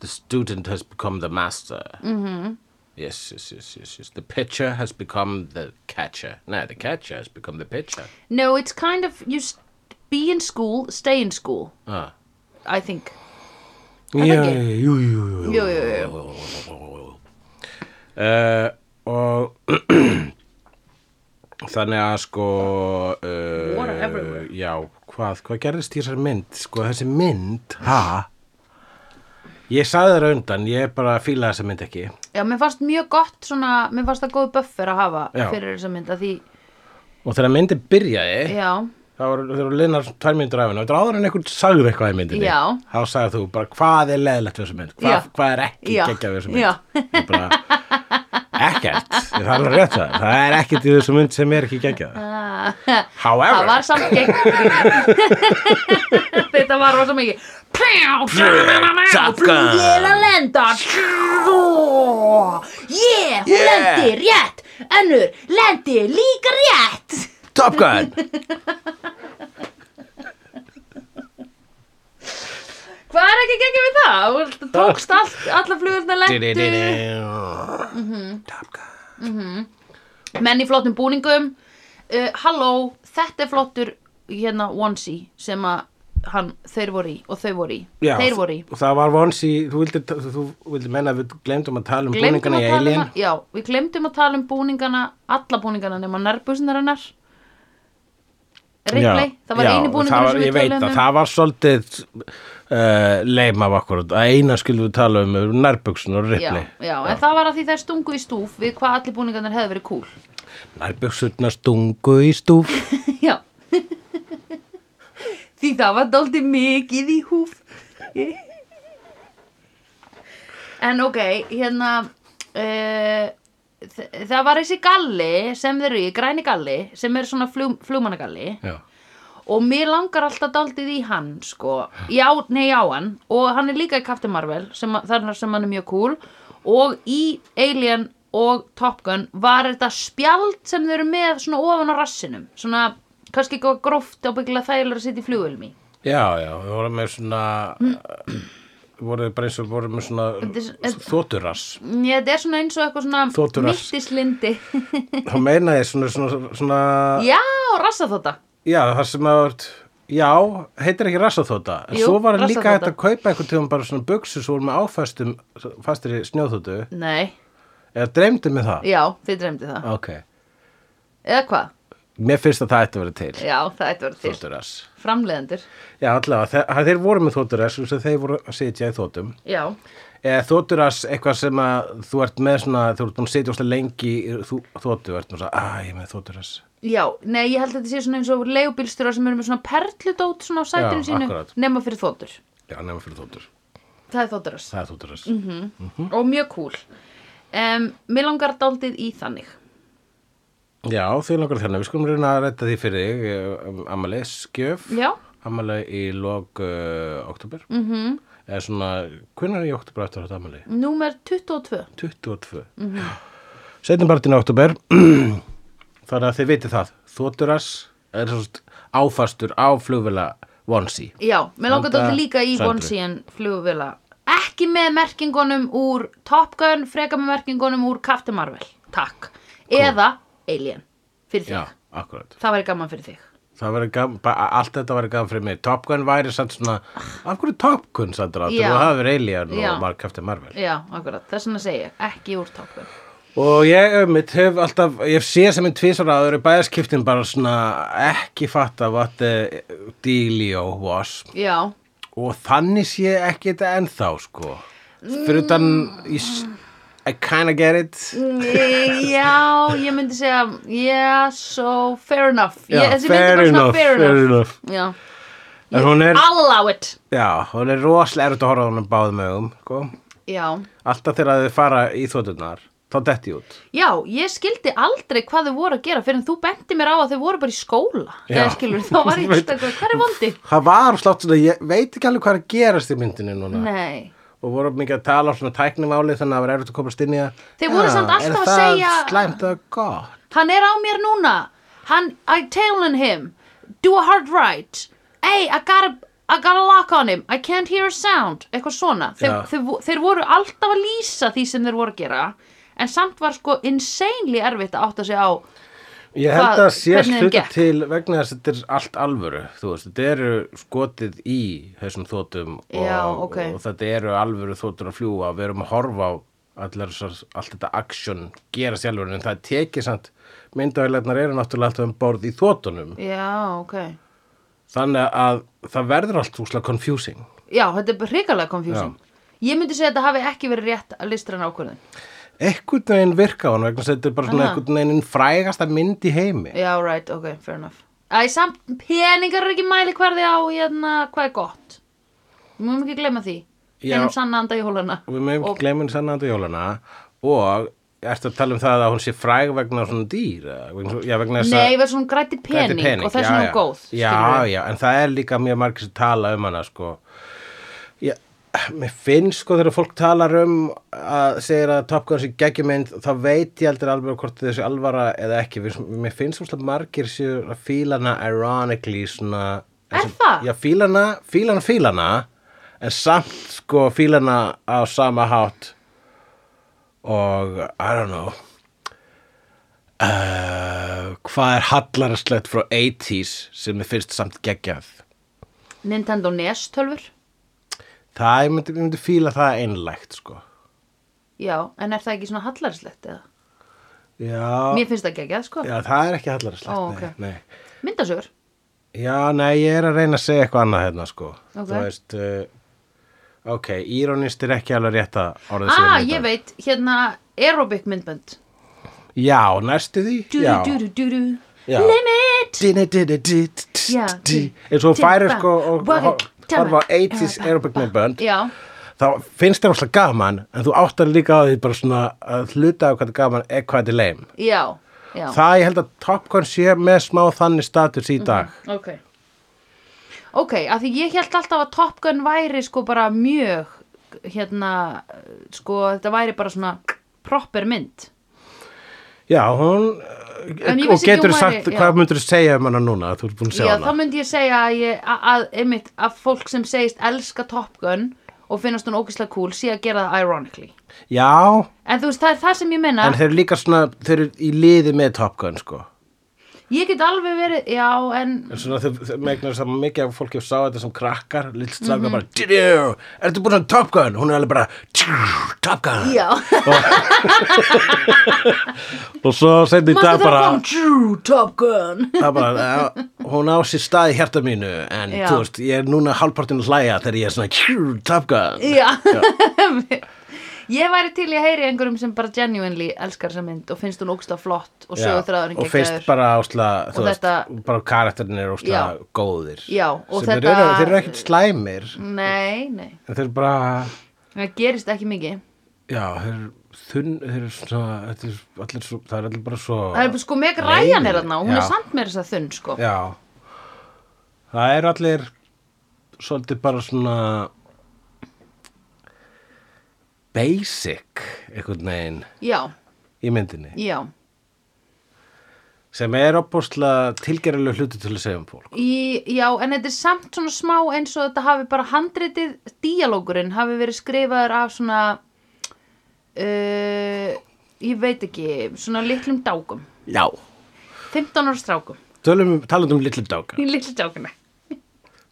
The student has become the master. Mm -hmm.
Mhm.
Yes, yes, yes, yes, yes. The pitcher has become the catcher. Nei, the catcher has become the pitcher.
No, it's kind of you s- be in school, stay in school
Ah.
I think
Já,
það
já,
ekki?
jú, jú, jú,
Jú, jú, jú.
jú. Uh, og þannig að sko
Water
uh,
everywhere.
já, hvað, hvað gerðist í þessari mynd sko þessi mynd, ha ég sagði þér á undan ég bara fíla þessa mynd ekki
Já, mér fannst mjög gott svona, mér fannst það góð buffer að hafa
Já.
fyrir þessa mynd að því,
og þegar myndin byrjaði
já,
Það voru, það voru liðnar tvær myndir af henni og þetta er áður en einhvern sagði eitthvað í myndinni
Já.
þá sagði þú bara hvað er leðilegt við þessu mynd hvað,
Já.
hvað er ekki
Já.
geggjað við þessu mynd
Já.
Ég bara, ekkert, það er alveg rétt það það er ekkert í þessu mynd sem er ekki geggjað Eh.
Það
however
var samt gegn Þetta var rosa mikið Pjá,
Top
Flugvél
Gun.
að lenda Yeah, hún
Yeah.
lendi rétt Önnur, lendi líka rétt
Top Gun
Hvað er ekki gegn við það? Þú tókst allt, alla flugurna lendu Mhm.
Top Gun
Menn í flottum búningum uh, Halló, þetta er flottur hérna onesie sem að hann, þeir voru í og þau voru í
Já,
þeir voru í
það var vons í, þú vildi, þú vildi menna að við glemdum að tala um
Gleymdum
búningana
að
í
tala
Alien
um, já, við glemdum að tala um búningana alla búningana nema nærbusunar hennar Ripley,
Já,
það var
já,
eini
það
búningur
var-
sem við
ég veit
tölum
að
um
það var svolítið uh, leim af okkur að eina skildum við tala um eru nærbuksun og
já,
rippli
já, en það var að því þær stungu í stúf við hvað allir búningarnir hefði verið cool
nærbuksunna stungu í stúf
já því það var dálítið mikið í húf en ok hérna uh, það var þessi galli sem þeir eru í, græni galli sem er svona flug, flugmannagalli
já,
og mér langar alltaf daldið í hann sko, já, nei já hann og hann er líka í Captain Marvel sem, þarna sem hann er mjög cool og í Alien og Top Gun var þetta spjald sem þau eru með svona ofan á rassinum svona kannski eitthvað gróft og byggilega þægilega að sitja í flugulmi
já, já við vorum með svona eh, voru bara eins og voru með
Þetta er-
svona
þetta-
þóturass
þetta er svona eins og eitthvað
Þotu
svona
rass.
mittislindi
þá meina ég svona, svona, svona
já, rassa þetta
já, það sem að já, heitir ekki rassaþóta en
Jú,
svo var líka
rassaþota.
hægt að kaupa einhvern tíðum bara svona buksu svo voru með áfæstum fastir í snjóþótu
nei,
eða dreymdi mig það
já, þið dreymdi það
ok,
eða hvað,
mér finnst að það ætti að vera til
já, það ætti verið til
Þótturas.
framleiðendur,
Já, allavega, þe- að þeir voru með þótturas og þeir voru að sitja í þóttum.
já
Eða þótturas eitthvað sem að þú ert með svona, þú ert búin að sitja óslega lengi í þú- þóttu, þú ert nú svona, að ég er með þótturas.
Já, nei, ég held að þetta sé svona eins og leigubílstjóra sem eru með svona perludót svona á sætinu
Já,
sínu,
akkurat.
nema fyrir þóttur.
Já, nefnum fyrir þóttur.
Það er þótturast
Það er þótturas.
Mhm.
Mhm.
og mjög cool. Um, mér langar daldið í þannig.
Já, því langar þannig, við skulum reyna að rætta því fyrir þig, eh, Amalei Skjöf,
Já. Mhm.
Amalei í lok uh, oktober, mm -hmm. eða svona, hvernig er í oktober eftir þetta Amalei?
Númer 22
22, mm -hmm. setjum partin oktober, þannig að þið vitið það, þótturas er svona áfastur á flugvila Vonsi.
Já, mér langar
Handa
þetta líka í
Söndru.
Vonsíen flugvila Ekki með merkingunum úr Top Gun, freka með merkingunum úr Captain Marvel, takk Eða Alien, fyrir þig
Já, akkurat.
Það væri gaman fyrir þig
Það verið gaman, bara allt þetta verið gaman fyrir mig. Top Gun væri samt svona, af hverju Top Gun samt rátt?
Já.
Þú hafið Alien
Já.
og Mark Captain Marvel.
Já, akkurat, þess vegna segi ég, ekki úr Top Gun
Og ég mitt hef alltaf, ég sé sem einn tvisar aður í bæðaskiptin bara svona ekki fatta what the dealio was
Já,
og þannig sé ekki þetta ennþá sko. Fyrir utan, ég s- I kinda get it.
Mm. Ég- Já, ég myndi segja Yeah, so fair enough
Já,
ég, þessi
fair
myndi bara svona
enough,
fair enough,
fair enough.
Já,
En hún er,
I'll allow it
já, hún er rosalega erut að horfa á hún báðum augum, sko.
Já,
Alltaf þegar þau fara í þóttunar, þá detti ég út.
já, ég skildi aldrei hvað þau voru að gera fyrir en þú benti mér á að þau voru bara í skóla
Já.
eða skilur, þá var ég
Veit-
alltaf eitthvað, hver er vondi?
Það var slátt svona, ég veit ekki alveg hvað er að gerast í myndinu núna.
Nei,
og voru mikið að tala á svona tæknimáli þannig að það var erfitt að komast inn í það
Þeir voru samt alltaf að segja-
Er það slæmt að gott?
hann er á mér núna hann, I tailing him do a hard right hey, I gotta, I gotta lock on him I can't hear a sound, eitthvað svona þeir,
Já.
þeir, vo- þeir voru alltaf að lýsa því sem þeir voru að gera en samt var sko insanely erfitt að átta sig á
Ég held
Hvað-
að sé
hvernig þeim
hluta
gekk?
til vegna þess að þetta er allt alvöru þú veist, þetta eru skotið í þessum þótum og,
Já, ok.
og þetta eru alvöru þótur að fljúa við erum að horfa á allar, þessar- allt þetta action gera sjálfur en það er tekið samt myndavælarnar eru náttúrulega alltaf um borð í þótunum
já, ok
þannig að það verður allt úslega confusing
já, þetta er hrikalega confusing ég myndi segja að þetta hafi ekki verið rétt að listræna ákvörðin
einhvern veginn virka á hann vegna þess að þetta er bara svona
Aha.
einhvern veginn frægasta mynd í heimi
já, right, ok, fair enough Æ, samt peningar er ekki mæli hverði á hérna, hvað er gott við mögum ekki glemma því
Já.
þegar um sanna anda í hólana
og við mögum ekki gleyma henni sannandi jólana og ertu að tala um það að hún sé fræg vegna svona dýr eða vegna, já, vegna þess
Nei, verður svona grætti
Þetta er
pening, og þess vegna
já,
er hún góð
já, já, já, en það er líka mjög margir sem tala um hana sko já, mér finnst sko þegar fólk talar um að segir að Top Gun sé geggjumynd þá veit ég aldrei alveg hvort þessi alvara eða ekki, Við- mér finnst svona margir séu að fíla hana ironically svona
Er
eins og-
það?
Já, fílana, fílana, fílana en samt sko fílana á sama hátt og I don't know uh, hvað er hallarastlegt frá 80s sem er fyrst samt geggjað
Nintendo E NES tölfur
það, ég myndi, ég myndi fíla það einlægt sko
Já, en er það ekki svona hallarslegt eða?
já,
Mér finnst það ekki ekki, sko
já, það er ekki hallarastlegt
Ó, ok.
nei, nei.
Myndasögur
já, nei, ég er að reyna að segja eitthvað annað hérna sko
Ok.
þú veist uh, ok, íronist er ekki alveg rétta orðið sem
Ah,
ég
ég
nota.
veit, hérna aerobic myndbönd
já, næstu því
Dúru,
já.
dúru, dúru
Já.
Limit
Dinni, dinni, di, di, di,
Já,
di.
di.
eins og hún færir
Timba,
sko og
waga,
hor-
tama,
horfa á 80s aerobic með bönd
Já,
þá finnst þér alltaf gaman en þú áttar líka á því bara svona að hluta á hvað er gaman eða hvað þetta er leim
já, já Mhm.
það ég held að Top Gun sé með smá þannig status í dag
Ok Ok, af því ég held alltaf að Top Gun væri sko bara mjög hérna, sko þetta væri bara svona proper mynd
já, hún eh,
En ég
og
vissi ekki
getur
hún væri-
sagt
já.
hvað myndur þú segja um hana núna þú ert búin að
Já,
segja
þá
hana
myndi ég segja að, ég, að, að, einmitt, að fólk sem segist elska Top Gun og finnast hún ógeðslega cool sé að gera það ironically.
já,
En þú veist, það er það sem ég menna.
en þeir eru líka svona þeir eru í liði með Top Gun sko
Ég get alveg verið, já, en
En svona þau- þau megnar þess að mikið af fólki sá þetta sem krakkar, lillst stráka mm
Mhm.
-hmm. bara "Tjú, Ertu búin að Top Gun? Hún er alveg bara "Tjú, Top Gun
já,
Og svo seinna í
maður
dag
það
bara
kom true Top Gun.
það er bara, ja, hún á sér stað í hjarta mínu en
Já.
þú veist, ég er núna hálfpartinu hlæja þegar ég er svona "Kjú, Top Gun
já, ég væri til í að heyri einhverjum sem bara genuinely elskar þessa mynd og finnst hún ógeðslega flott og sögur þráðurinn
og finnst bara ásla þú
Og
veist,
þetta-
bara karakterin er ásla
Já.
góðir
Já, og
Sem
þetta-
þeir, eru, þeir eru ekkert slæmir
Nei, nei,
en þeir eru bara
það gerist ekki mikið.
já, þeir eru þunn, þeir eru svona, þetta er allir svo, það er allir bara svo
það er sko Meg
Nei.
Ryan er þarna og hún
Já.
er samt meira þess að þunn sko
Já Það er allir svolítið bara svona basic einhvern veginn
já,
í myndinni
já,
sem er opbúrslega tilgerðilega hluti til að segja um fólk
Í, já, en þetta er samt svona smá eins og þetta hafi bara handritið, díalógurinn hafi verið skrifaður af svona, uh, ég veit ekki, svona litlum dákum,
Já
15 ára strákum,
Tölum, Talandi um litlu dáka
í litlu dákuna.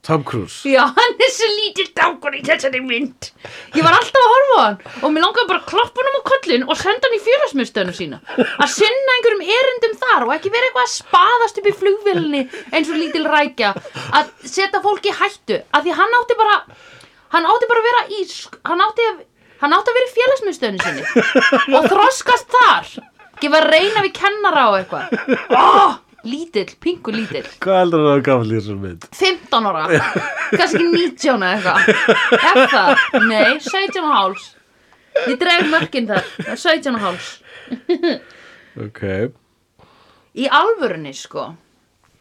Tom Cruise
Já, hann er svo lítill dákur í þessari mynd. Ég var alltaf að horfa á hann og mér langaði bara að kloppa hann á kollin og senda hann í félagsmyndstöðunum sína. Að sinna einhverjum erindum þar og ekki vera eitthvað að spaðast upp í flugvélni eins og lítil rækja. Að setja fólk í hættu. Að því hann átti bara, hann átti bara að vera í, sk- hann átti að, hann átti að vera í félagsmyndstöðunum sinni og þroskast þar. Gefa að reyna við kennara og eitthvað. Ó, lítill, pingu lítill.
Hvað heldur það að gafla í þessum mynd?
15 ára kannski 19 eða eitthvað er það? Nei, 17 og háls ég dreif mörkin þar 17 og háls
Ok
í alvörunni sko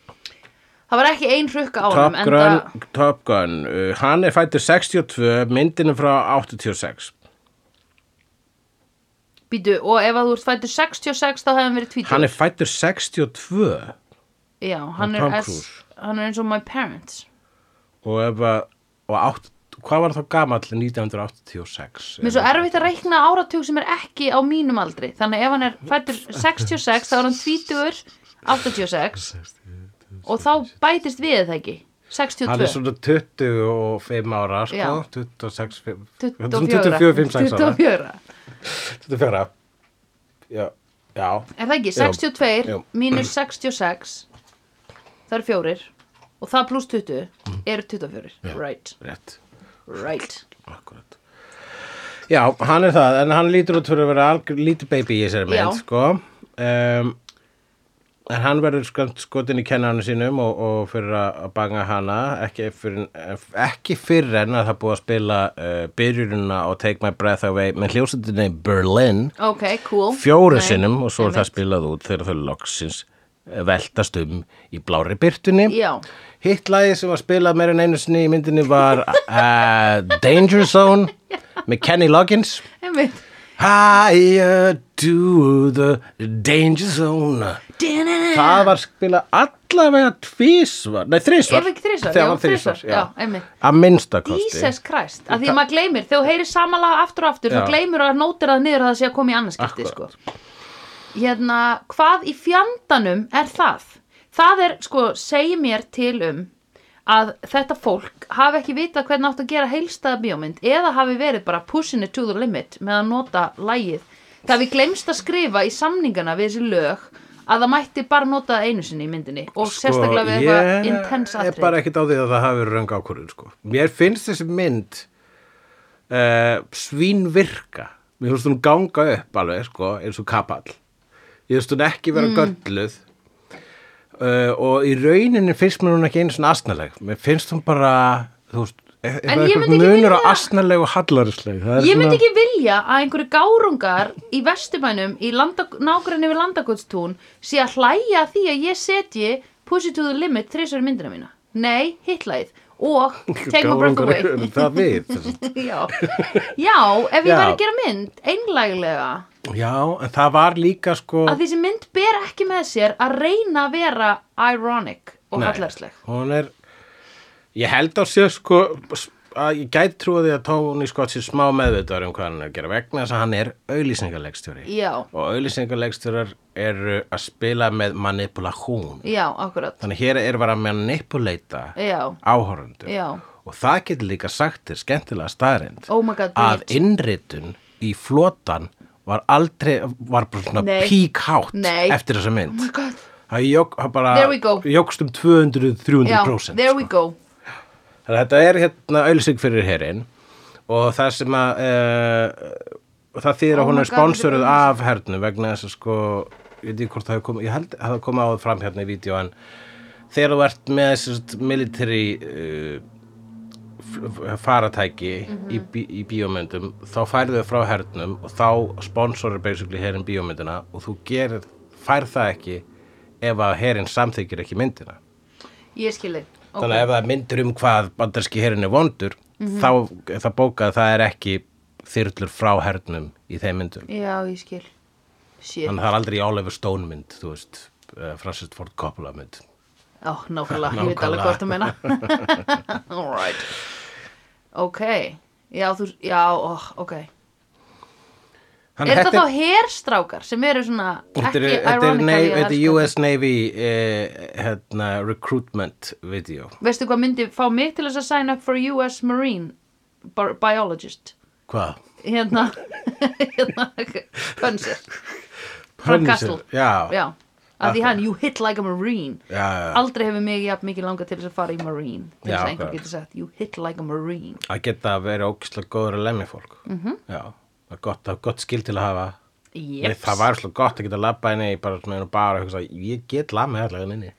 það var ekki ein hrukka á
Top
honum enda-
Gun, Top Gun uh, Hann er fættur 62, myndinu frá 86
býtu, og ef að þú ert fættur 66 þá hefði hann verið 20
Hann er fættur 62
Já, hann,
Tom
er S,
Cruise.
hann er eins og my parents
og ef að og átt, hvað var þá gamall 1986
mér er svo erfitt að reikna áratug sem er ekki á mínum aldri þannig ef hann er fættur 66 þá er hann 20 86 og þá bætist við er það ekki
hann
62
er svona 25 ára sko,
Já.
26 fimm-
24
24, 5, 6 ára
24
24 já, já,
Er það ekki?
Jú.
62
Jú.
mínus 66 það eru fjórir og það pluss 20 eru 24 right,
rétt
right
akkurat já, hann er það, en hann lítur út fyrir að vera algjör lítið baby í þessari
Já.
mynd sko um, En hann verður skant skotin í kennarnu sínum og, og fyrir að að banga hana, ekki fyrir, ekki fyrir en að það er búið að spila uh, byrjununa og Take My Breath Away með hljósetinni Berlin
ok, cool
fjóru
Nei,
sinnum og svo er það
einmitt.
spilað út þegar þau loksins veltast um í blári byrtunni.
Já.
Hitt lagið sem var spilað meira en einu sinni í myndinni var uh, Danger Zone með Kenny Loggins.
Einmitt.
Higher to the danger zone. Það var spilað allavega tvísvar, nei þrísvar.
Ef ekki
Það
þrisvar, já,
var þrísvar,
þrisvar, já, einmitt.
Að minnsta kosti.
Jesus Christ, af því maður gleymir þegar þú heyrir samalega aftur og
Já.
aftur þá gleymir að nótir það niður að það sé að koma í annarskipti sko. hérna, hvað í fjandanum er það? það er, sko, segi mér til um að þetta fólk hafi ekki vitað hvernig átt að gera heilstæða bíómynd eða hafi verið bara pushing it to the limit með að nota lægið það hafi glemst að skrifa í samningana við þessi lög að það mætti bara nota það einu sinni í myndinni og sérstaklega við eitthvað intense
Sko, Ég
atrið
er bara ekkert á því að það hafi verið röng ákvörðun sko. Mér finnst þessi mynd uh, svínvirka Mér finnst hún ganga upp alveg sko, eins og kapall Ég finnst hún ekki vera mm. gölluð uh, og í rauninni finnst mér hún ekki einu svona astnaleg Mér finnst hún bara þú veist ef- ef
En
það er
ég
einhver
myndi ekki
munur á
vilja-
astnaleg og hallarisleg
Ég myndi ekki vilja að einhverju gárungar í vestumænum í landa, nágrinni við landakotstún sé að hlæja að því að ég setji Pussy to the Limit þrísverju myndina mína. Nei, hitlæð og Take My Breath Away.
Það við sem sagt.
Já. Já, ef ég
Já.
væri að gera mynd einlæglega
Já, en það var líka sko
að þessi mynd ber ekki með sér að reyna að vera ironic og
Nei,
hallarsleg.
hún er ég held á sér sko að ég gæti trúa því að Tony Scott sé smá meðvitaður um hvað hann er að gera vegna þess að hann er auðlýsingarleikstjóri
Já,
og auðlýsingarleikstjórar eru að spila með manipulation
já, akkurat.
þannig hér er bara að manipulata
Já,
áhorundu
Já.
og það getur líka sagt þér skemmtilega staðrind
Oh my God,
að
Bríet.
innritun í flotan var aldrei, var bara svona
Nei.
píkhátt
Nei.
eftir þessa mynd
oh my god.
Það jók, það bara
There we go.
jókst um 200-300%
Já,
prósent,
there
sko.
we go.
Þannig að þetta er hérna auðlýsing fyrir herinn og það sem að uh, það þýðir
Oh
að hún er
my God, þetta er
sponsoruð
auglýsing.
af hernum vegna þess að sko ég veit ekki hvort það hefur komið, ég held að það komið áður fram hérna í vídeo en þegar þú ert með þessast military uh, eh, f- faratæki í, bí- í bíómyndum þá færðu þau frá hernum og þá sponsorir basically herin bíómyndina og þú gerir, fær það ekki ef að herin samþykir ekki myndina
ég skilði
þannig að ef það er myndir um hvað bandarski herin er vondur
Mhm.
þá er það bókað að það er ekki þyrlur frá hernum í þeim myndum
já ég skil Shit.
þannig að það er aldrei í Oliver Stone mynd þú veist, eh, Francis Ford Coppola mynd
Ó, nákvæmlega, ég veit alveg hvort þú meina Alright Ok, já, þú, já, ó, ok
Hann-
Er
þetta
þetta þá herstrákar sem eru svona
Þetta
ekki
er, þetta er,
ironically
Navy, þetta er
herstrákar?
US Navy eh, hérna, recruitment video.
Veistu hvað myndi fá mig til þess að sign up for US Marine bi- biologist
Hvað?
hérna hérna Pönser
Punisher,
Castle.
Já, já.
já, af því hann, you hit like a Marine
já.
aldrei hefur mig jafn mikið langað til þess að fara í Marine til
Já,
þess að einhver
akkurat.
getur sagt, you hit like a Marine
Að geta að vera ógislega góður að lemja fólk. Mm
Mhm.
-hmm. Já, það er gott, það er gott skil til að hafa. Ég,
Jeps.
það var svolítið gott að geta að labba henni, ég bara svona einu bara að hugsa, ég get hérna lamið allega henni.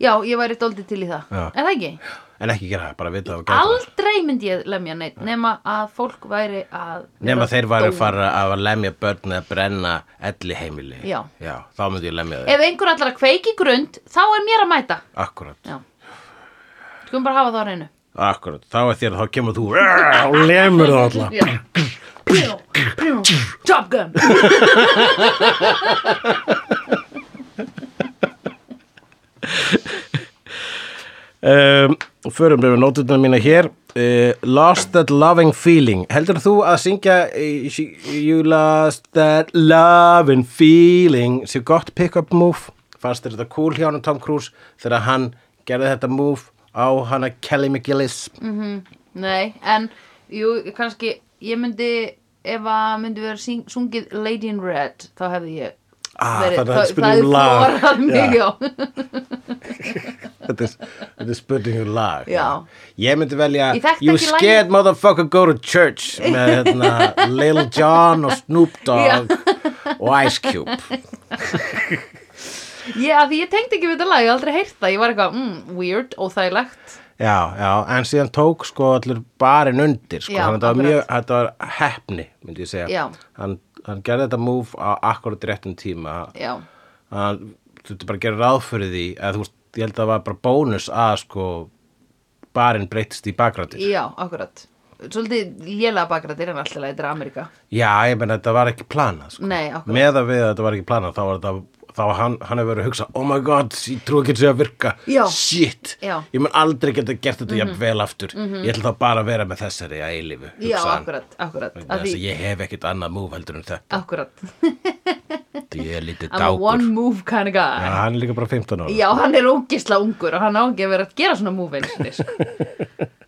já, ég væri dóldið til í það
Já.
er það ekki?
En ekki gera það, bara vita það og gera það.
aldrei myndi ég lemja neitt nema að fólk væri að
Nefn
vera
að þeir væru
dó-
að fara að lemja börn eða brenna elli heimili.
Já.
þá myndi ég lemja þeir.
ef einhver allar að kveiki í grund þá er mér að mæta
Akkurat.
já, skulum bara hafa það á reynu
Akkurat, þá er þér, þá kemur þú "Rrrr", og lemur það alla.
Já. Prjó, prjó, Top Gun
um, og förum við nótutna mína hér uh, Lost That Loving Feeling heldur þú að syngja eh, she- You Lost That Loving Feeling sé gott pick-up move fannst þér þetta cool hjá hann Tom Cruise þegar hann gerði þetta move á hana Kelly McGillis
Mm. Mhm. Nei, en jú, kannski ég myndi ef að myndi vera syng, sungið Lady in Red þá hefði ég
Ah,
verið,
þannig að þetta er spurning
það
um lag.
þorað mig,
Já.
já.
þetta, er, þetta er spurning um lag
Já.
ég myndi velja
Ég þekkti
You
ekki lagið.
Scared Motherfucker Go to Church með hérna, Lil Jon og Snoop Dogg og Ice Cube
Ég, að því ég tengdi ekki við þetta lag, ég hef aldrei heyrt það ég var eitthvað, mm, weird, óþægilegt
Já, já, en síðan tók sko allir barinn undir, sko, þannig
Já,
að þetta var
akkurat.
mjög, þetta var heppni, myndi ég segja.
Já.
Hann, hann gerði þetta move á akkurat réttum tíma,
já,
hann, þú veitir bara að gera ráð fyrir því, eða þú veist, ég held að það var bara bónus að sko barinn breytist í bakgrættir.
já, akkurat svolítið lélega bakrættir en alltaf þetta er Amerika
Já, ég menn þetta var ekki planað, sko.
Nei, akkurat.
Með að við að þetta var ekki planað, þá var þetta, þá var hann, hann hefur verið að hugsa, oh my god, ég trú ekki að segja að virka,
Já.
shit,
Já. Mhm.
ég mun aldrei geta gert þetta jafn vel aftur, ég ætla þá bara að vera með þessari að eilifu,
já,
hugsaði hann.
akkurat, akkurat
Vegna
að
þess að
því,
ég hef ekkert annað múf heldur en þetta
akkurat,
ég er lítið
I'm a one
dákur
move kind of guy
ja, hann er líka bara 15 ára
Já, hann er ógisla ungur og hann á ekki að vera að gera svona múf eins og þess.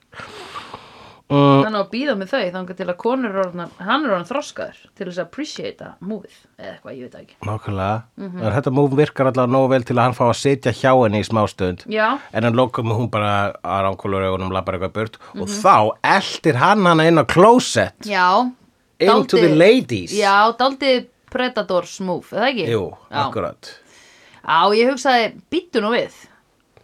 Uh.
Hann á að býða með þau þangar til að konur er orðnar, hann er orðan þroskaður til þess að appreciata múfið eða eitthvað, ég veit það ekki.
nákvæmlega
Mhm.
en þetta múf virkar allavega nógu vel til að hann fá að sitja hjá henni í smástund
Já,
en hann lokum hún bara að ránkólur augunum labbar eitthvað burt og
Mhm.
þá eldir hann hana inn á closet
já.
into the
dálítið-
ladies
Já, daldið Predators múf, eða ekki?
Jú,
já.
akkurat
Já, ég hugsaði, býttu nú við.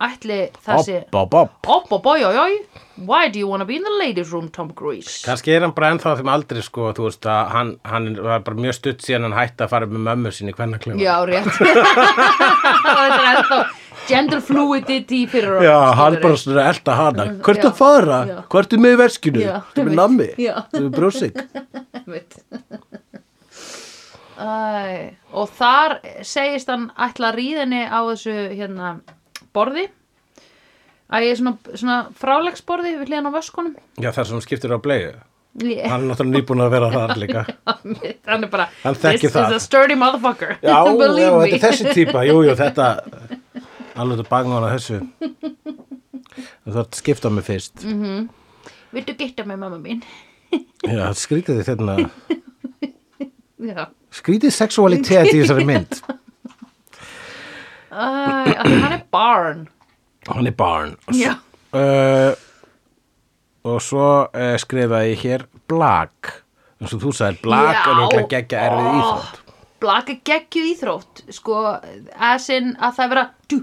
Ætli það sé...
Bob, bob, bob
Opp, opp, Oh, oi, oi, oi. Why do you wanna be in the ladies room, Tom Cruise?
Kannski er hann bara ennþá á þeim aldrei sko, þú veist að hann, hann var bara mjög stutt síðan hann hætti að fara með mömmu sinni hvernig hann klima.
Já, rétt Þetta er ennþá gender fluidity fyrir okkur,
Já, hann
skilurðu.
bara svona elda hana Hvert
já,
að fara?
já.
Hvert er með í verskinu?
Já,
Þú er með
einmitt,
nammi?
já.
Þú er með brjósik?
Einmitt. Æ, Og þar segist hann ætla að ríðinni á þessu hérna borði Æ, svona, svona frálegsborði við hliðan á vöskunum
Já, það sem skiptir á bleiðu
Ég-
Hann er náttúrulega nýbúin að vera þar líka
Hann er bara
Hann þekkir
This
það."
is a sturdy motherfucker
Já, já,
Believe
þetta
me
er þessi típa Jú, jú, þetta Alveg þetta banga hana þessu Þú þarf að skipta á mig fyrst
Mm. Viltu gitta með mamma mín?
Já, hérna. skrítið þið þérna
Já
Skrítið sexualitet í þessari mynd
Æ, af því Hann er barn
Hann er barn
Já.
uh, Og svo uh, skrifaði ég hér Blag eins og þú sagðir Blag
Já.
er náttúrulega geggja erfið íþrótt
blaka geggju íþrótt sko, að sinn að það vera dú,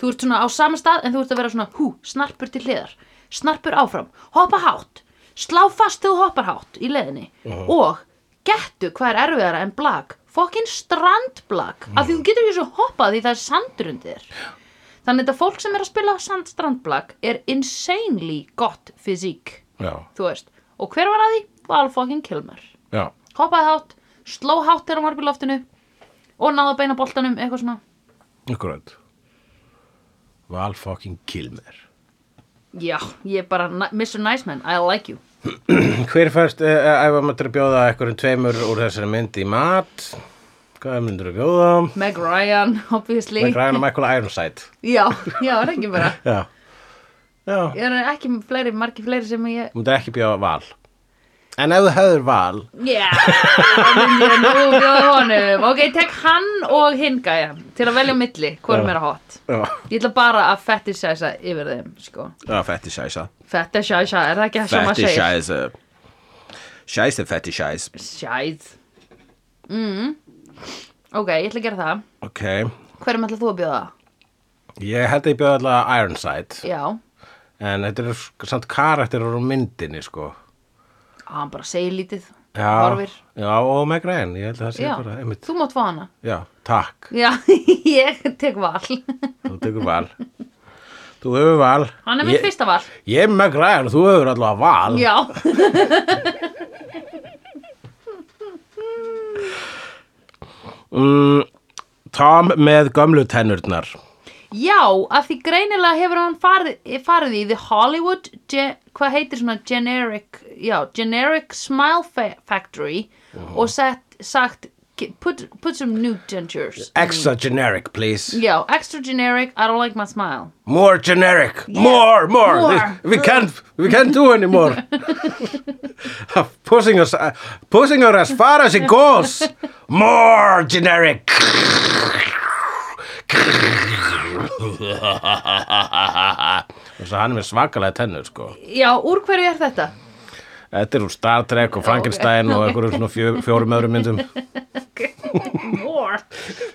þú ert svona á sama stað en þú ert að vera svona hú, snarpur til hliðar snarpur áfram, hoppa hátt slá fast þegar þú hoppar hátt í leðinni og gettu hvað er erfiðara en blag fokkin strandblag af því þú getur ekki svo hoppað því það er sandur undir þér þannig að þetta fólk sem er að spila sand strandblag er insanely gott fysík
já,
þú veist, og hver var að því? Val fucking Kilmer
já,
hoppaði hátt, sló hátt þegar hann var upp í loftinu og náði að beina boltanum eitthvað svona,
akkurat Val fucking Kilmer
já, ég bara na- Mr. Nice Man, I like you
Hver færst, eh, eh, ef maður myndir að bjóða einhverjum tveimur úr þessari mynd í mat Hvað myndir að bjóða?
Meg Ryan, obviously
Meg Ryan og Michael Ironside
já, já, er ekki bara
Já, já
ég er ekki með fleiri, margir fleiri sem ég
Þú myndir ekki bjóða Val En ef þú höfður Val
já, það myndi ég nú bjóða honum ok, tek hann og hinn gæja til að velja á milli, hvorum er að hot
Já,
ég ætla bara að fetishæsa yfir þeim, sko
já fetishæsa
fetishæsa, er það ekki það sem að segja
Fetishæsa Sjæsa fetishæs
Sjæð mm. Ok, ég ætla að gera það
Ok,
Hverjum ætla þú að bjóða?
ég held að ég bjóða alltaf Ironside
Já,
En þetta er samt karakterar úr myndinni sko
Á, hann bara segir lítið
Já,
Horfir
já og Meg Ryan, ég held að það sé
Já,
bara einmitt.
þú mátt fá hana
Já, takk,
Já, ég tek val
þú tekur val Þú hefur val
Hann er mitt
Ég-
fyrsta val
Ég er með græðan og þú hefur allavega val
Já,
mm, Tom með gömlu tennurnar
já, af því greinilega hefur hann farið, farið í The Hollywood ge, Hvað heitir svona generic Já, generic smile fa factory Og sett, sagt "Ki- Put, put some new gestures
Extra generic please
Já, extra generic, I don't like my smile
More generic, more, more,
more.
We, can't, we can't do anymore Pushing us, uh, pushing her as far as it goes More generic Þess að hann er með svakalega tennur sko
Já, úr hverju er þetta?
Þetta er úr Star Trek og Frankenstein og einhverjum svona fjö, fjórum öðrum myndum
More,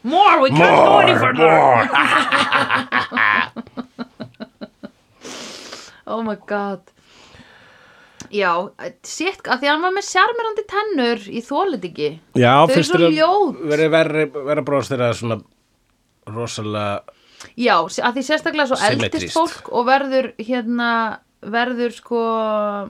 more, we can't go any
More,
further
more
Oh my god Já, sitt, að því hann var með sjarmerandi tennur í þólit ekki
Já,
Þau eru
finnst
svo
þér að
ljót.
verið verri, verra bros þeirra svona rosalega
Já, að því sérstaklega svo eldist
Symmetrist.
fólk og verður hérna, verður sko uh,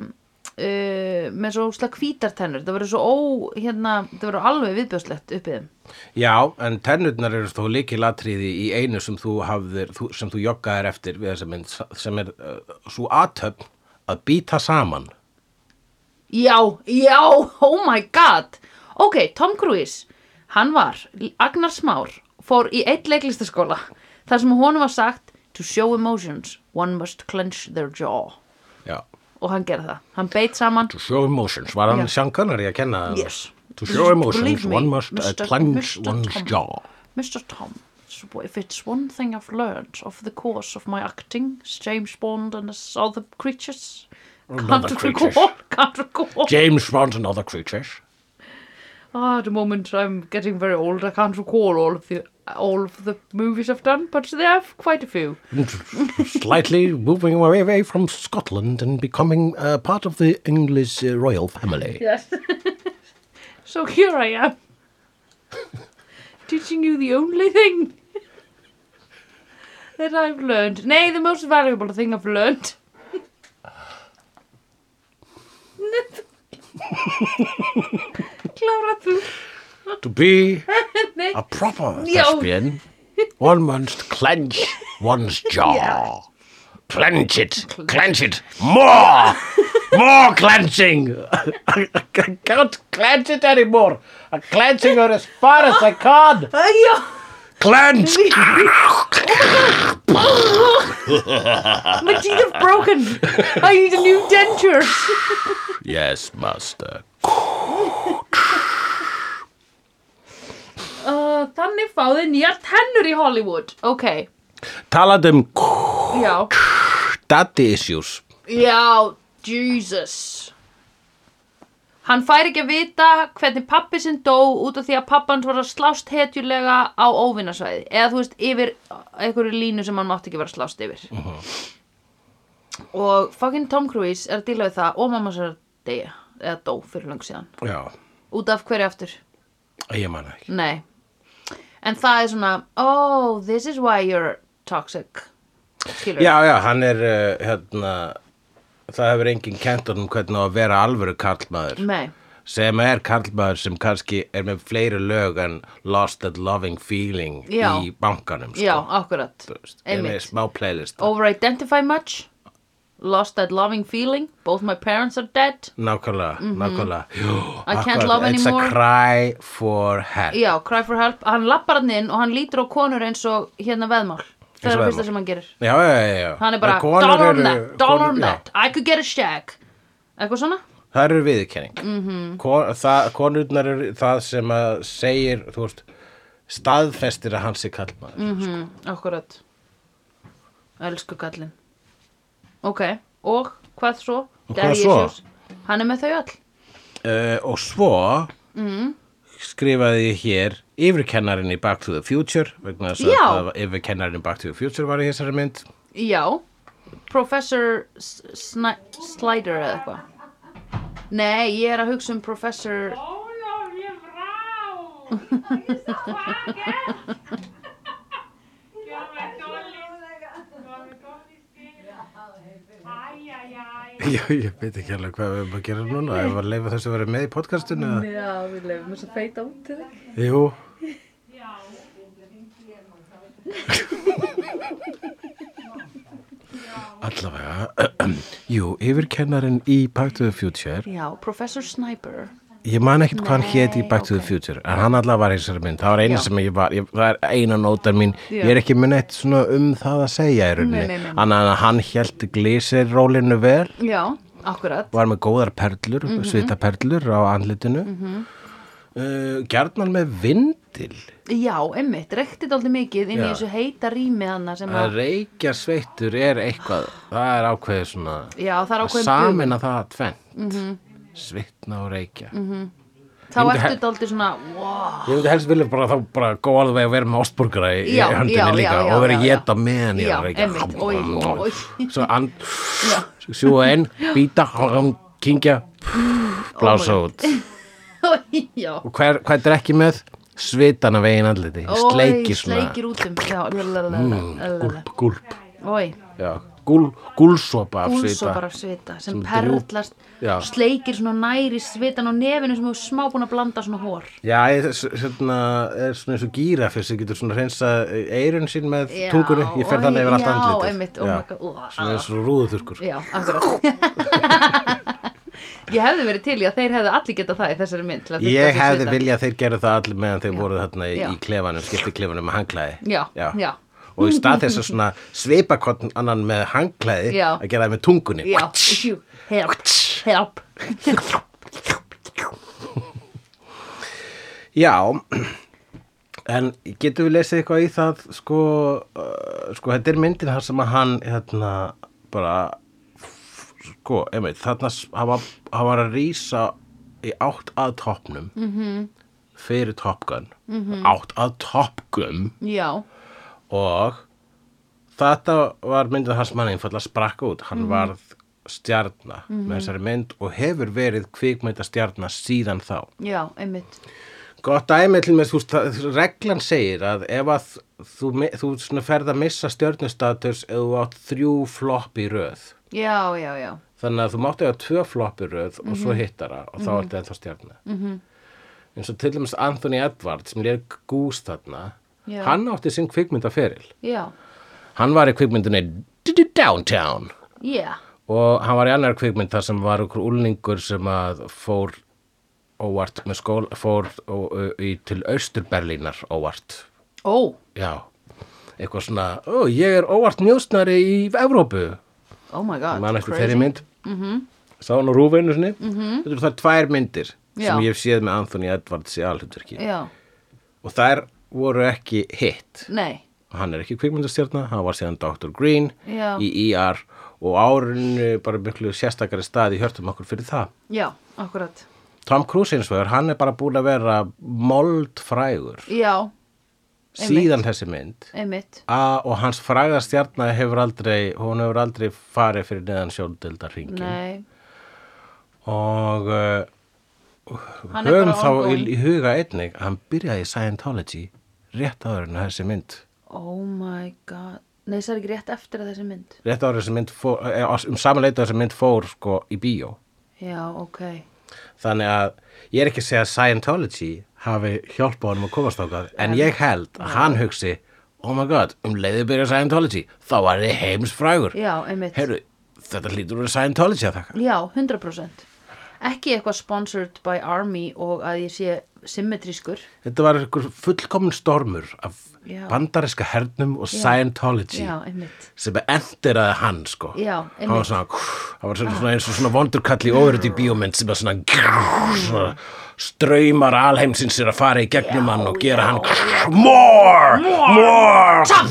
með svo slag hvítartennur það verður svo ó, hérna það verður alveg viðbjöðslegt uppið þeim
Já, en tennurnar eru þó líki latriði í einu sem þú hafðir, þú- sem þú joggaðir eftir við þessa mynd, sem er uh, svo aðtöfn að býta saman.
Já, já, oh my god Ok, Tom Cruise Hann var, Agnar Smár Fór í eitt leiklistaskóla Þar sem honum var sagt To show emotions, one must clench their jaw
Já.
Og hann gerði það, hann beit saman
To show emotions, var hann
Já.
Sean Connery að kenna það?
Yes.
To
Just
show emotions,
believe me,
one must uh,
Mr.
clench
Mr.
one's
Tom.
jaw.
Mr. Tom, so if it's one thing I've learned of the course of my acting it's James Bond and his other creatures Can't
other creatures.
recall, can't recall
James Bond and other creatures.
Ah, at the moment I'm getting very old. I can't recall all of the all of the movies I've done, but there are quite a few.
Slightly moving away away from Scotland and becoming uh, part of the English uh, royal family.
Yes. so here I am, teaching you the only thing that I've learned. Nay, the most valuable thing I've learned. Klára þú.
To be
Nei.
a proper
Já.
thespian, one must clench one's jaw. Clench it, clench it, more, more clenching. I, can't clench it anymore. I'm clenching her as far as I can.
Æjá.
Clench.
My teeth are broken. I need a new denture.
yes, master.
Uh, þannig fá þið nýjar tennur í Hollywood Ok,
Talað um
já
daddy issues.
Já, Jesus Hann fær ekki að vita hvernig pappi sinn dó út af því að pappans var að slást hetjulega á óvinnasvæði eða þú veist yfir einhverju línu sem hann mátti ekki vera að slást yfir og fucking Tom Cruise er að díla við það og mamma sér að deyja eða dó fyrir langt síðan
já,
út af hverju aftur
ég man það ekki
Nei En það er svona Oh, this is why you're toxic Skilur
já, já, hann er uh, hérna það hefur enginn kent honum hvernig á að vera alvöru karlmaður
Nei,
sem er karlmaður sem kannski er með fleiri lög en Lost at Loving Feeling
Já.
í bankanum sko.
já, akkurat
Þú veist, ég er með
Einmitt
smá playlist
Over-identify much Lost that loving feeling Both my parents are dead
nákvæmlega, nákvæmlega Jú,
Mhm. I can't
akkurat.
love
it's
anymore.
a cry for help
Já, cry for help Hann lappar hann inn og hann lítur á konur eins og hérna veðmál Það
Eins
er
og
það fyrsta
veðmál.
sem hann gerir
já, já, já, já.
Hann er bara,
Og konur
down on
eru-
that, down on
konur- já,
that I could get a shag Eitthvað svona?
það eru viðurkenning mm
Mhm.
-hmm. konurnar eru það sem að segir, þú veist staðfestir að hans er kallmaður
Mhm, akkurat Elsku kallinn Ok, og hvað svo?
Og
Daddy
hvað svo?
issues. Hann er með þau öll
uh, og svo skrifaði ég hér yfirkennarinn í Back to the Future vegna þess að
Já.
það var- yfirkennarinn í Back to the Future var í þessari mynd
Já, Professor S- Sni Slider eða eitthvað Nei, ég er að hugsa um Professor
Ólafur Frá! Það er svo vakkert! Gjör mig dólið, gjör mig dólið stil. Æj, æj, æj.
Já, ég veit ekki alveg hvað við erum að gera núna ef að leifa þess að vera með í podcastinu eða?
Já, við lefum þess að feita út til þig
Jú Allavega Jú, yfirkennarinn í Back to the Future
Já, Professor Sniper
Ég man ekkert hvað hann héti í
Nei,
Back to the
ok.
Future en hann allavega var í þessari mynd, það var eina
Já.
sem ég var ég, það er eina nótar mín,
Já.
ég er ekki með neitt svona um það að segja í
Nei, nei,
rauninni
nei, nei.
hann, hann hélt glísirrólinu vel
Já, akkurat
var með góðar perlur,
Mhm,
svitaperlur á andlitinu mm gjarnan með vindil
Já, emmitt, reykti dálítið mikið inn í
Já.
þessu heita rými hana sem
að
að
reykja sveittur er eitthvað það er ákveðið svona
Já, það
að
er ákveðin Mhm.
samina það tvent mm svitna og reykja
bug Þá
myndi
ertu
he-
dálítið svona, wow
Ég myndi helst vilja bara þá bara góða vegi að vera með ástborgara í
Já,
já, höndinni
já,
líka
já, já,
og vera að
já, já.
geta meðan ég er að
Já,
reykja.
einmitt, oj, oj.
Svo and, sjúa inn, býta, kingja,
Oh
blása út.
Já
Og hver, hvað drekki með? Svitana veginn andliti,
Oj,
sleikir svona. Mm,
Sleikir út um Já, lalalala
Gúlp, gúlp,
Ói,
já, gúl, gúlsopa af svita.
úlsopar af svita sem
Sem drjúp-
perlast
Já.
Sleikir svona næri svitan á nefinu sem þú er smá búin að blanda svona hór
Já, ég s- svona, er svona eins og gírafis sem getur svona hreinsað eirun sín með
Já,
túkunni, ég fer
oj,
þannig yfir allt
já,
andlitið.
einmitt, oh my God, úa,
Svona
ah.
eins og rúðuþurkur.
Já, akkurat Ég hefði verið til í að þeir hefði allir getað það í þessari mynd til að þurrka
Ég
sig
hefði
svitann.
viljað að þeir gerðu það allir meðan þeir voru þarna í,
Já.
í klefanum, skiptiklefanum með hangklæði.
Já, já.
Og í stað þess að svona svipa hvern annan með hangklæði
Já.
að gera það með tungunni.
Já, hjú, help, help
Já, en getum við lesið eitthvað í það, sko, uh, sko þetta er myndin þar sem að hann, hérna, bara, sko, einmitt, þarna, s- hann var, hann var að rýsa í átt að toppnum -hmm.
Mhm.
fyrir Top Gun, -hmm. átt að Top Gun.
Já,
og þetta var myndið hans manni einfallega sprakk út, hann varð stjarnar með þessari mynd og hefur verið kvikmynda stjarnar síðan þá
já, einmitt
gott dæmi til með þú veist, það- reglan segir að ef að þú, mi- þú svona ferð að missa stjörnustatus ef þú átt þrjú flopp í röð
Já, já, já,
þannig að þú mátti hafa tvö flopp í röð og svo hittara og þá ertu ennþá stjarnar -hmm. eins og til dæmis Anthony Edwards sem lér gúst þarna
Já.
hann átti sinn kvikmyndaferil
já
Hann var í kvikmyndinni Downtown
Já,
og hann var í annar kvikmynd þar sem var okkur úlningur sem að fór óvart með skól, fór ó, ö, í, til Austurberlínar óvart.
ó,
Já, eitthvað svona, ó, ég er óvart njóstnari í Evrópu.
oh my god
Man eftir
crazy.
þeirri
Mm-hmm.
mynd. Mm -hmm. Sá hann á rúfinu sinni. Mm -hmm. Þetta eru það tvær myndir
Já.
sem ég hef séð með Anthony Edwards í alhutverki.
Já,
Og þær voru ekki hitt.
nei,
hann er ekki kvikmyndastjarnar, hann var síðan Dr. Green
Já.
í IR og árinu bara miklu sérstakari stað í hjörtum okkur fyrir það.
já, akkurat
Tom Cruise eins og þér, hann er bara búin að vera moldfrægur
Já,
síðan þessi mynd
einmitt
A, og hans fræga stjarnar hefur aldrei hún hefur aldrei farið fyrir neðan sjóndildar
Nei,
og uh,
Hann er
höfum
bara
þá í,
ongoing.
í huga einnig að hann byrjaði í Scientology rétt áður en þessi mynd
oh my god Nei, það er ekki rétt eftir að þessi mynd
rétt áður en þessi mynd fór eh, um samanleita þessi mynd fór sko í bíó
Já, ok
þannig að ég er ekki að segja að Scientology hafi hjálpað honum að komast ákvað en ég held að hann hugsi oh my god, um leiðið byrja Scientology þá var þið heimsfrægur
Já, einmitt
Heyrðu, þetta hlýtur úr Scientology að þakka
Já, 100% Ekki eitthvað sponsored by Army og að ég sé symmetrískur
Þetta var einhver fullkomin stormur af
Já.
bandaríska hernum og Scientology
Já, einmitt
sem enderaði hann sko
Já,
hann var
einmitt. Ah.
svona, hann var svona, svona eins og svona vondurkall í óverið í bíómynd sem er svona, svona straumar alheimsins er að fara í gegnum hann og gera hann more, more,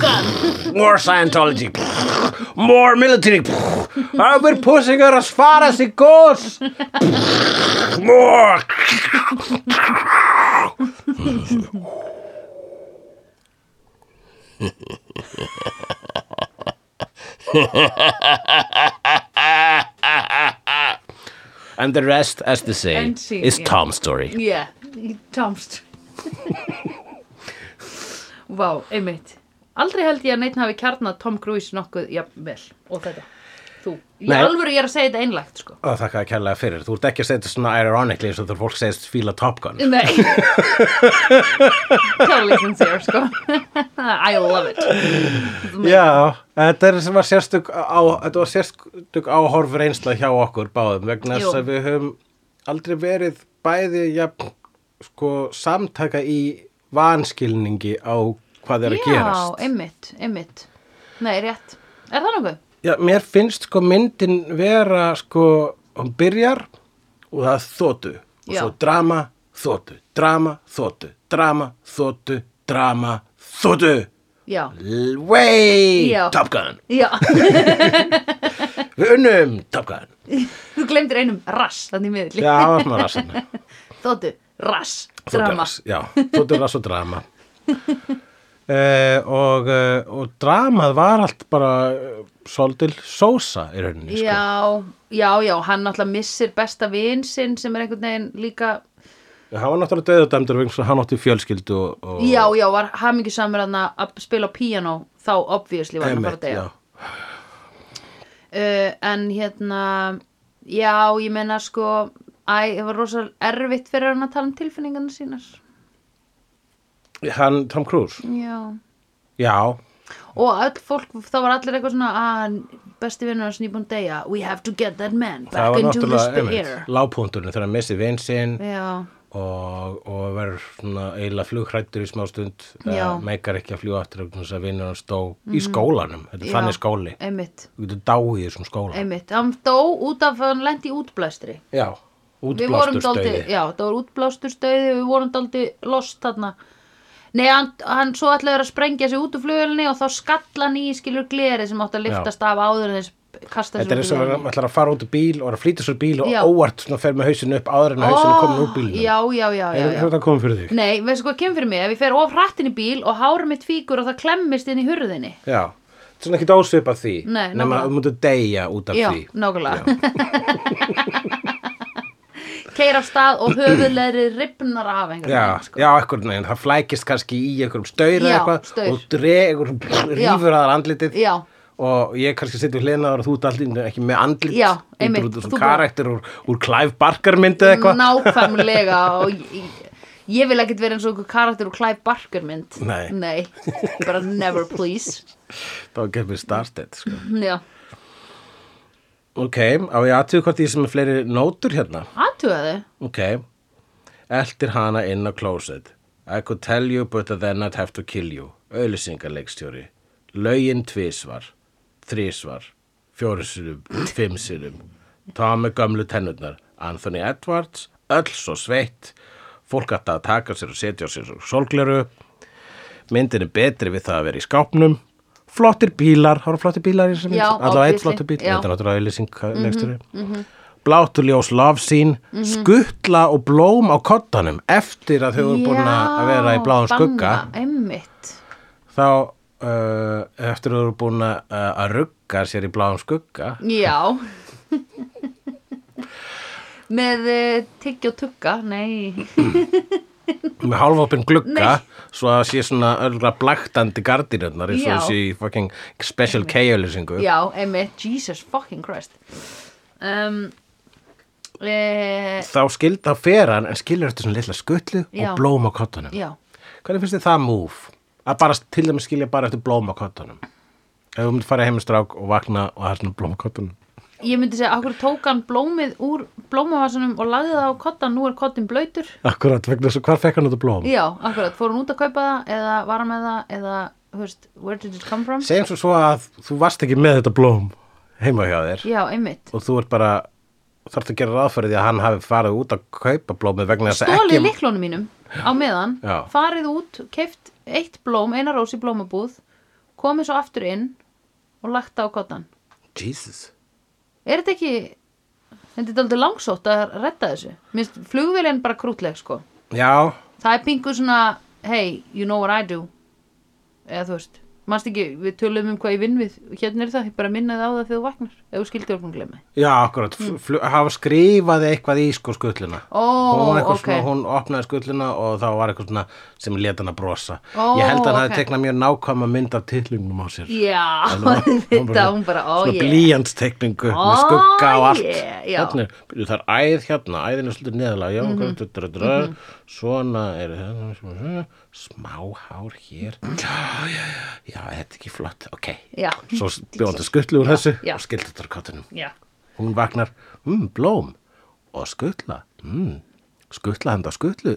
more, Scientology more military ah, we're pushing her as far as it goes more and the rest as they say
And she-
is
yeah.
Tom's story
Yeah, Tomst Vá, einmitt Aldrei held ég að neitt hafi kjarnað Tom Cruise nokkuð, já, vel Og þetta, þú Ég
Nei.
alvöru ég er að segja þetta einlægt, sko
Það þakka að kærlega fyrir. Þú ert ekki að segja þetta svona ironically eins og þú fólk segist fíla Top Gun.
Nei Totally sincere, sko I love it
Já, þetta er sem var sérstök, á, þetta var sérstök áhorf reynsla hjá okkur báðum vegna
Jú.
þess að við höfum aldrei verið bæði jafn, sko, samtaka í vanskilningi á hvað er að
Já,
gerast.
einmitt, einmitt Nei, rétt Er það nokkuð?
Já, mér finnst sko myndin vera sko, hún byrjar og það er þóttu og
Já.
svo drama, þóttu, drama, þóttu, drama, þóttu, drama, þóttu,
Já
L- way,
Já.
Top Gun,
Já,
við unnum Top Gun.
þú glemdir einum rass þannig miðli
Já, það var svona rassin.
Þóttu, rass, drama
Já, þóttu rass og drama. Uh, og, uh, og dramað var allt bara uh, svolítil sósa í rauninni sko.
Já, já, já, hann náttúrulega missir besta vin sinn sem er einhvern veginn líka
hann var náttúrulega döðadæmdur vegna þess að hann átti fjölskyldu og, og
Já, já, var hamingi samur hann að spila á piano þá obviously var hann bara að
Einmitt,
deyja
já.
uh, En hérna, já, ég meina sko Æ, það var rosa erfitt fyrir hann að tala um tilfinningarna sínar
Hann, Tom Cruise?
Já
Já.
og öll fólk, það var allir eitthvað svona að besti vinnur hans nýbúin deyja we have to get that man
Það
back
var
into this
náttúrulega
air
lágpunturinn þegar hann missi vinn sinn
já,
og, og verður svona eiginlega flughrættur í smá stund eh,
Já. Mhm.
meikar ekki að fljúa aftur vegna þess að vinnur hans dó í skólanum, þetta er
Já.
þannig skóli
einmitt,
þú getur dáið í þessum skóla
einmitt hann dó út af, hann lendi í útblæstri
Já,
við vorum
útblástur
daldi,
stöði
já, það var útblástur stöði við vorum daldi lost þarna nei, hann, hann svo ætlaður að sprengja sig út úr flugulni og þá skalla hann í skilur gleri sem átt að liftast af áður en þess kasta
Þetta er eins og hann ætlar að fara út úr bíl og er að flýta svo bíl og
Já.
óvart svona fer með hausinu upp áður en hausinu oh, komin úr bílnum
já, já, já, já,
Hefur
já.
hefur það komið fyrir þig?
Nei, veistu hvað kemur fyrir mig? Ef ég fer of hratt inn í bíl og hárum mitt fíkur og það klemmist inn í hurðinni.
Já, þetta er svona ekki dásvip af því
Nei,
nema að
nákvæmlega.
þú mútu deyja út af
Já,
því
nákvæmlega. Keir af stað og höfuðleðri ripnar af einhvern
Já,
veginn,
já, einhvern veginn, það flækist kannski í einhverjum staur eða
Sko. Já,
eitthvað
staur.
og dregur,
Já.
rífur aðar andlitið
Já.
og ég kannski sitja við hliðna og þú ert allir ekki með andlit
Já,
þú ert
einmitt,
út úr
þú
svona
bara-
karakter úr, úr Clive Barker myndi eða eitthvað
Nákvæmlega og ég, ég vil ekkert vera eins og einhver karakter úr Clive Barker mynd.
Nei.
Nei, bara never please.
þá kemur startet sko.
Já,
Ok, á ég aðtöðu hvort ég sem er fleiri nótur hérna
aðtugaðu.
Ok, eltir hana inn á closet I could tell you but then I'd have to kill you Auðlýsingarleikstjóri Lögin tvisvar Þrísvar Fjórusinum, fimmsinum Tom með gömlu tennurnar Anthony Edwards, öll svo sveitt Fólk ætti að taka sér og setja á sér solgleru Myndin er betri við það að vera í skápnum Flottir bílar, það eru flottir bílar í þessum
Já,
Alla eitt
obviously,
flottir bíl,
já. Mhm,
þetta er náttúrulega auðlýsingarleikstjóri mm -hmm, blátu ljós lofsín, skutla og blóm á kottanum eftir að þau voru búin að vera í bláðum skugga
einmitt
þá uh, eftir að þau voru búin að, eh, að rugga sér í bláðum skugga
Já Með uh, tyggj og tugga, nei
með hálfopinn glugga
Nei.
svo að sé svona örgulega blæktandi gardínurnar eins og
Já.
þessi í fucking special K-ölýsingu
Já, einmitt, Jesus fucking Christ um, e,
þá skild þá fer hann en skilur eftir svona litla skutlu
Já.
og blóm á kottunum
Já,
hvernig finnst þið það múf? að bara til dæmis skilja bara eftir blóm á kottunum ef þú myndir fara heim með strák og vakna og það er svona blóm á kottunum
ég myndi segja Akkur tók hann blómið úr blómavasanum og lagði það á kottan, nú er kottin blöytur
akkurat vegna þess að hvar fekk hann þetta blóm?
Já, akkurat, fór hann út að kaupa það eða var hann með það eða, þú veist, where did it come from?
segjum svo svo að þú varst ekki með þetta blóm heima hjá þér
Já, einmitt
og þú ert bara þarfst að gera ráðferði að hann hafi farið út að kaupa blómið vegna þess að
Stólið
ekki um-
liklónum mínum á meðan
Já.
farið út, keift eitt blóm, eina rós í blómabúð komið svo aftur inn og lagt það á kottan
Jesus
Er þetta ekki þetta er aldrei langsótt að redda þessu Minnst flugvélinn bara krútleg sko
Já,
Það er pingu svona, hey, you know what I do eða þú veist Manst ekki, við tölum um hvað ég vinn við hérna er það, ég bara minnaði á það þegar þú vaknar ef þú um skildi orðum glemma
já, akkurat mm. hafa skrifaði eitthvað í sko skulluna
Ó,
hún, var eitthvað
ok.
svona, hún opnaði skulluna og þá var eitthvað svona sem leta hann að brosa
Ó,
Ég held að hann
ok.
hafi teknað mjög nákvæma mynd af titlingnum á sér
Já, þetta hún bara, ó
Svona
ég
blíjantstekningu
Ó,
með skugga og allt
yeah, já. Mhm.
Hérna er- byrju, Það er æð hérna, æðin er svolítið neðalega Já, mm -hmm. svona er smáhár hér Já, já, já, já, er þetta ekki flott Ok,
Mhm. Já.
svo bjóðan til skullu úr þessu
já.
og skildi þetta á kottunum
Já,
Hún vagnar, mm, blóm og skutla, mm, skutla handa skutlu.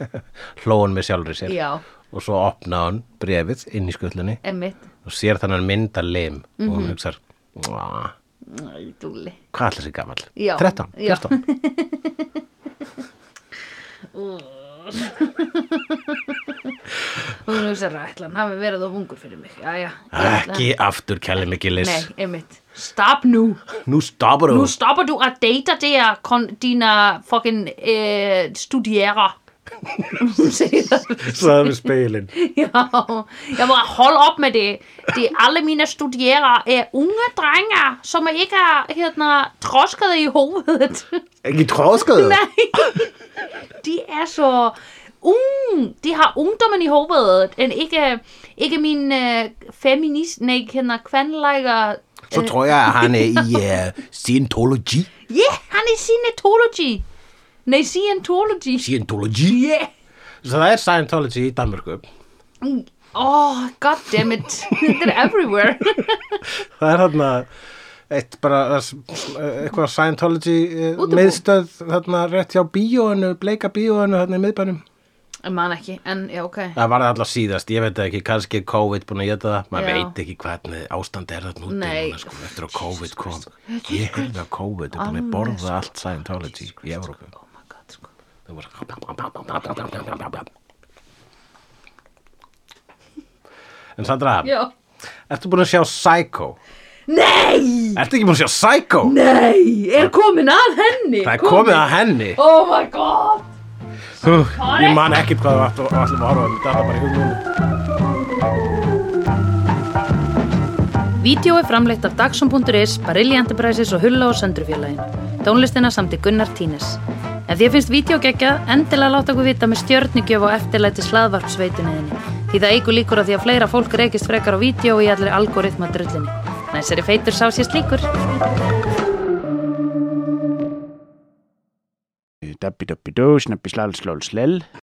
Hlóan með sjálfri sér.
Já.
Og svo opna hann brefið inn í skutlunni
emmitt
og sér þannig mynda lim og
Mhm.
hún hugsar, "Mwah,
Dúli
hvað allir sér gamall?
Já,
13,
já.
14.
og hún hugsaði að ætla hann hafi verið of ungur fyrir mig Jæja, ég ætla-
Ekki aftur, Kelly
Nei,
Mikkilis.
einmitt Stop nú
Nú stoppar
Nú
hún.
stoppar du að deyta þér kon, dína fucking eh, studiera Hún segir það
Sæðum við speilin.
Já, ég var að holde op med det Det er alle mine studiera er unge drenger som er ikke er øh, hérna, troskede i hovedet
Ekki tróskaðu?
Nei De er så ung De har ungdommen i hovedet En ikke, ikke min øh, feminist Nej, ikke hende kvandlægger
Svo tror jeg, að hann er í uh, Scientology.
Yeah, han er Scientology Nej, Scientology
Scientology.
Yeah
Svo það er Scientology í Danmarku.
Mm. Oh, god damn it They're everywhere
það er þarna eitt bara það er eitthvað Scientology eh,
Útibú.
miðstöð þarna rétt hjá bíóinu, bleika bíóinu þarna í miðbænum
Ég man ekki, en já, ok
það var það alltaf síðast, ég veit það ekki, kannski er COVID búin að geta það, maður
Já.
veit ekki hvernig ástand er þarna úti
Nei.
núna, sko, eftir að COVID kom ég hefði að COVID er búin að borða allt Scientology í Európu
Oh my god, sko
það voru en Sandra,
Já
ertu búin að sjá Psycho?
Nei,
Ertu ekki búin að sjá Psycho?
nei, er komin að henni
Það er komið að henni
Oh my god
Hú, Ég man ekkert hvað við ætlum að horfa um þetta bara í hugnum.
Vídeó er framleitt af Dagsum.is, Barilli Enterprises og Hulla og Söndrufjörlægin. Tónlistina samt í Gunnar Tínes. Ef þér finnst vídeo geggja, endilega láta okkur vita með stjörnugjöf og eftirlæti slaðvarpsveitunniðinni. Því það eigur líkur að því að fleira fólk reykist frekar á vídeo og í allir algoritma drullinni. Næsari feitur sá sér slíkur.
Dabbi dabbi dó, snabbi slal slól slell.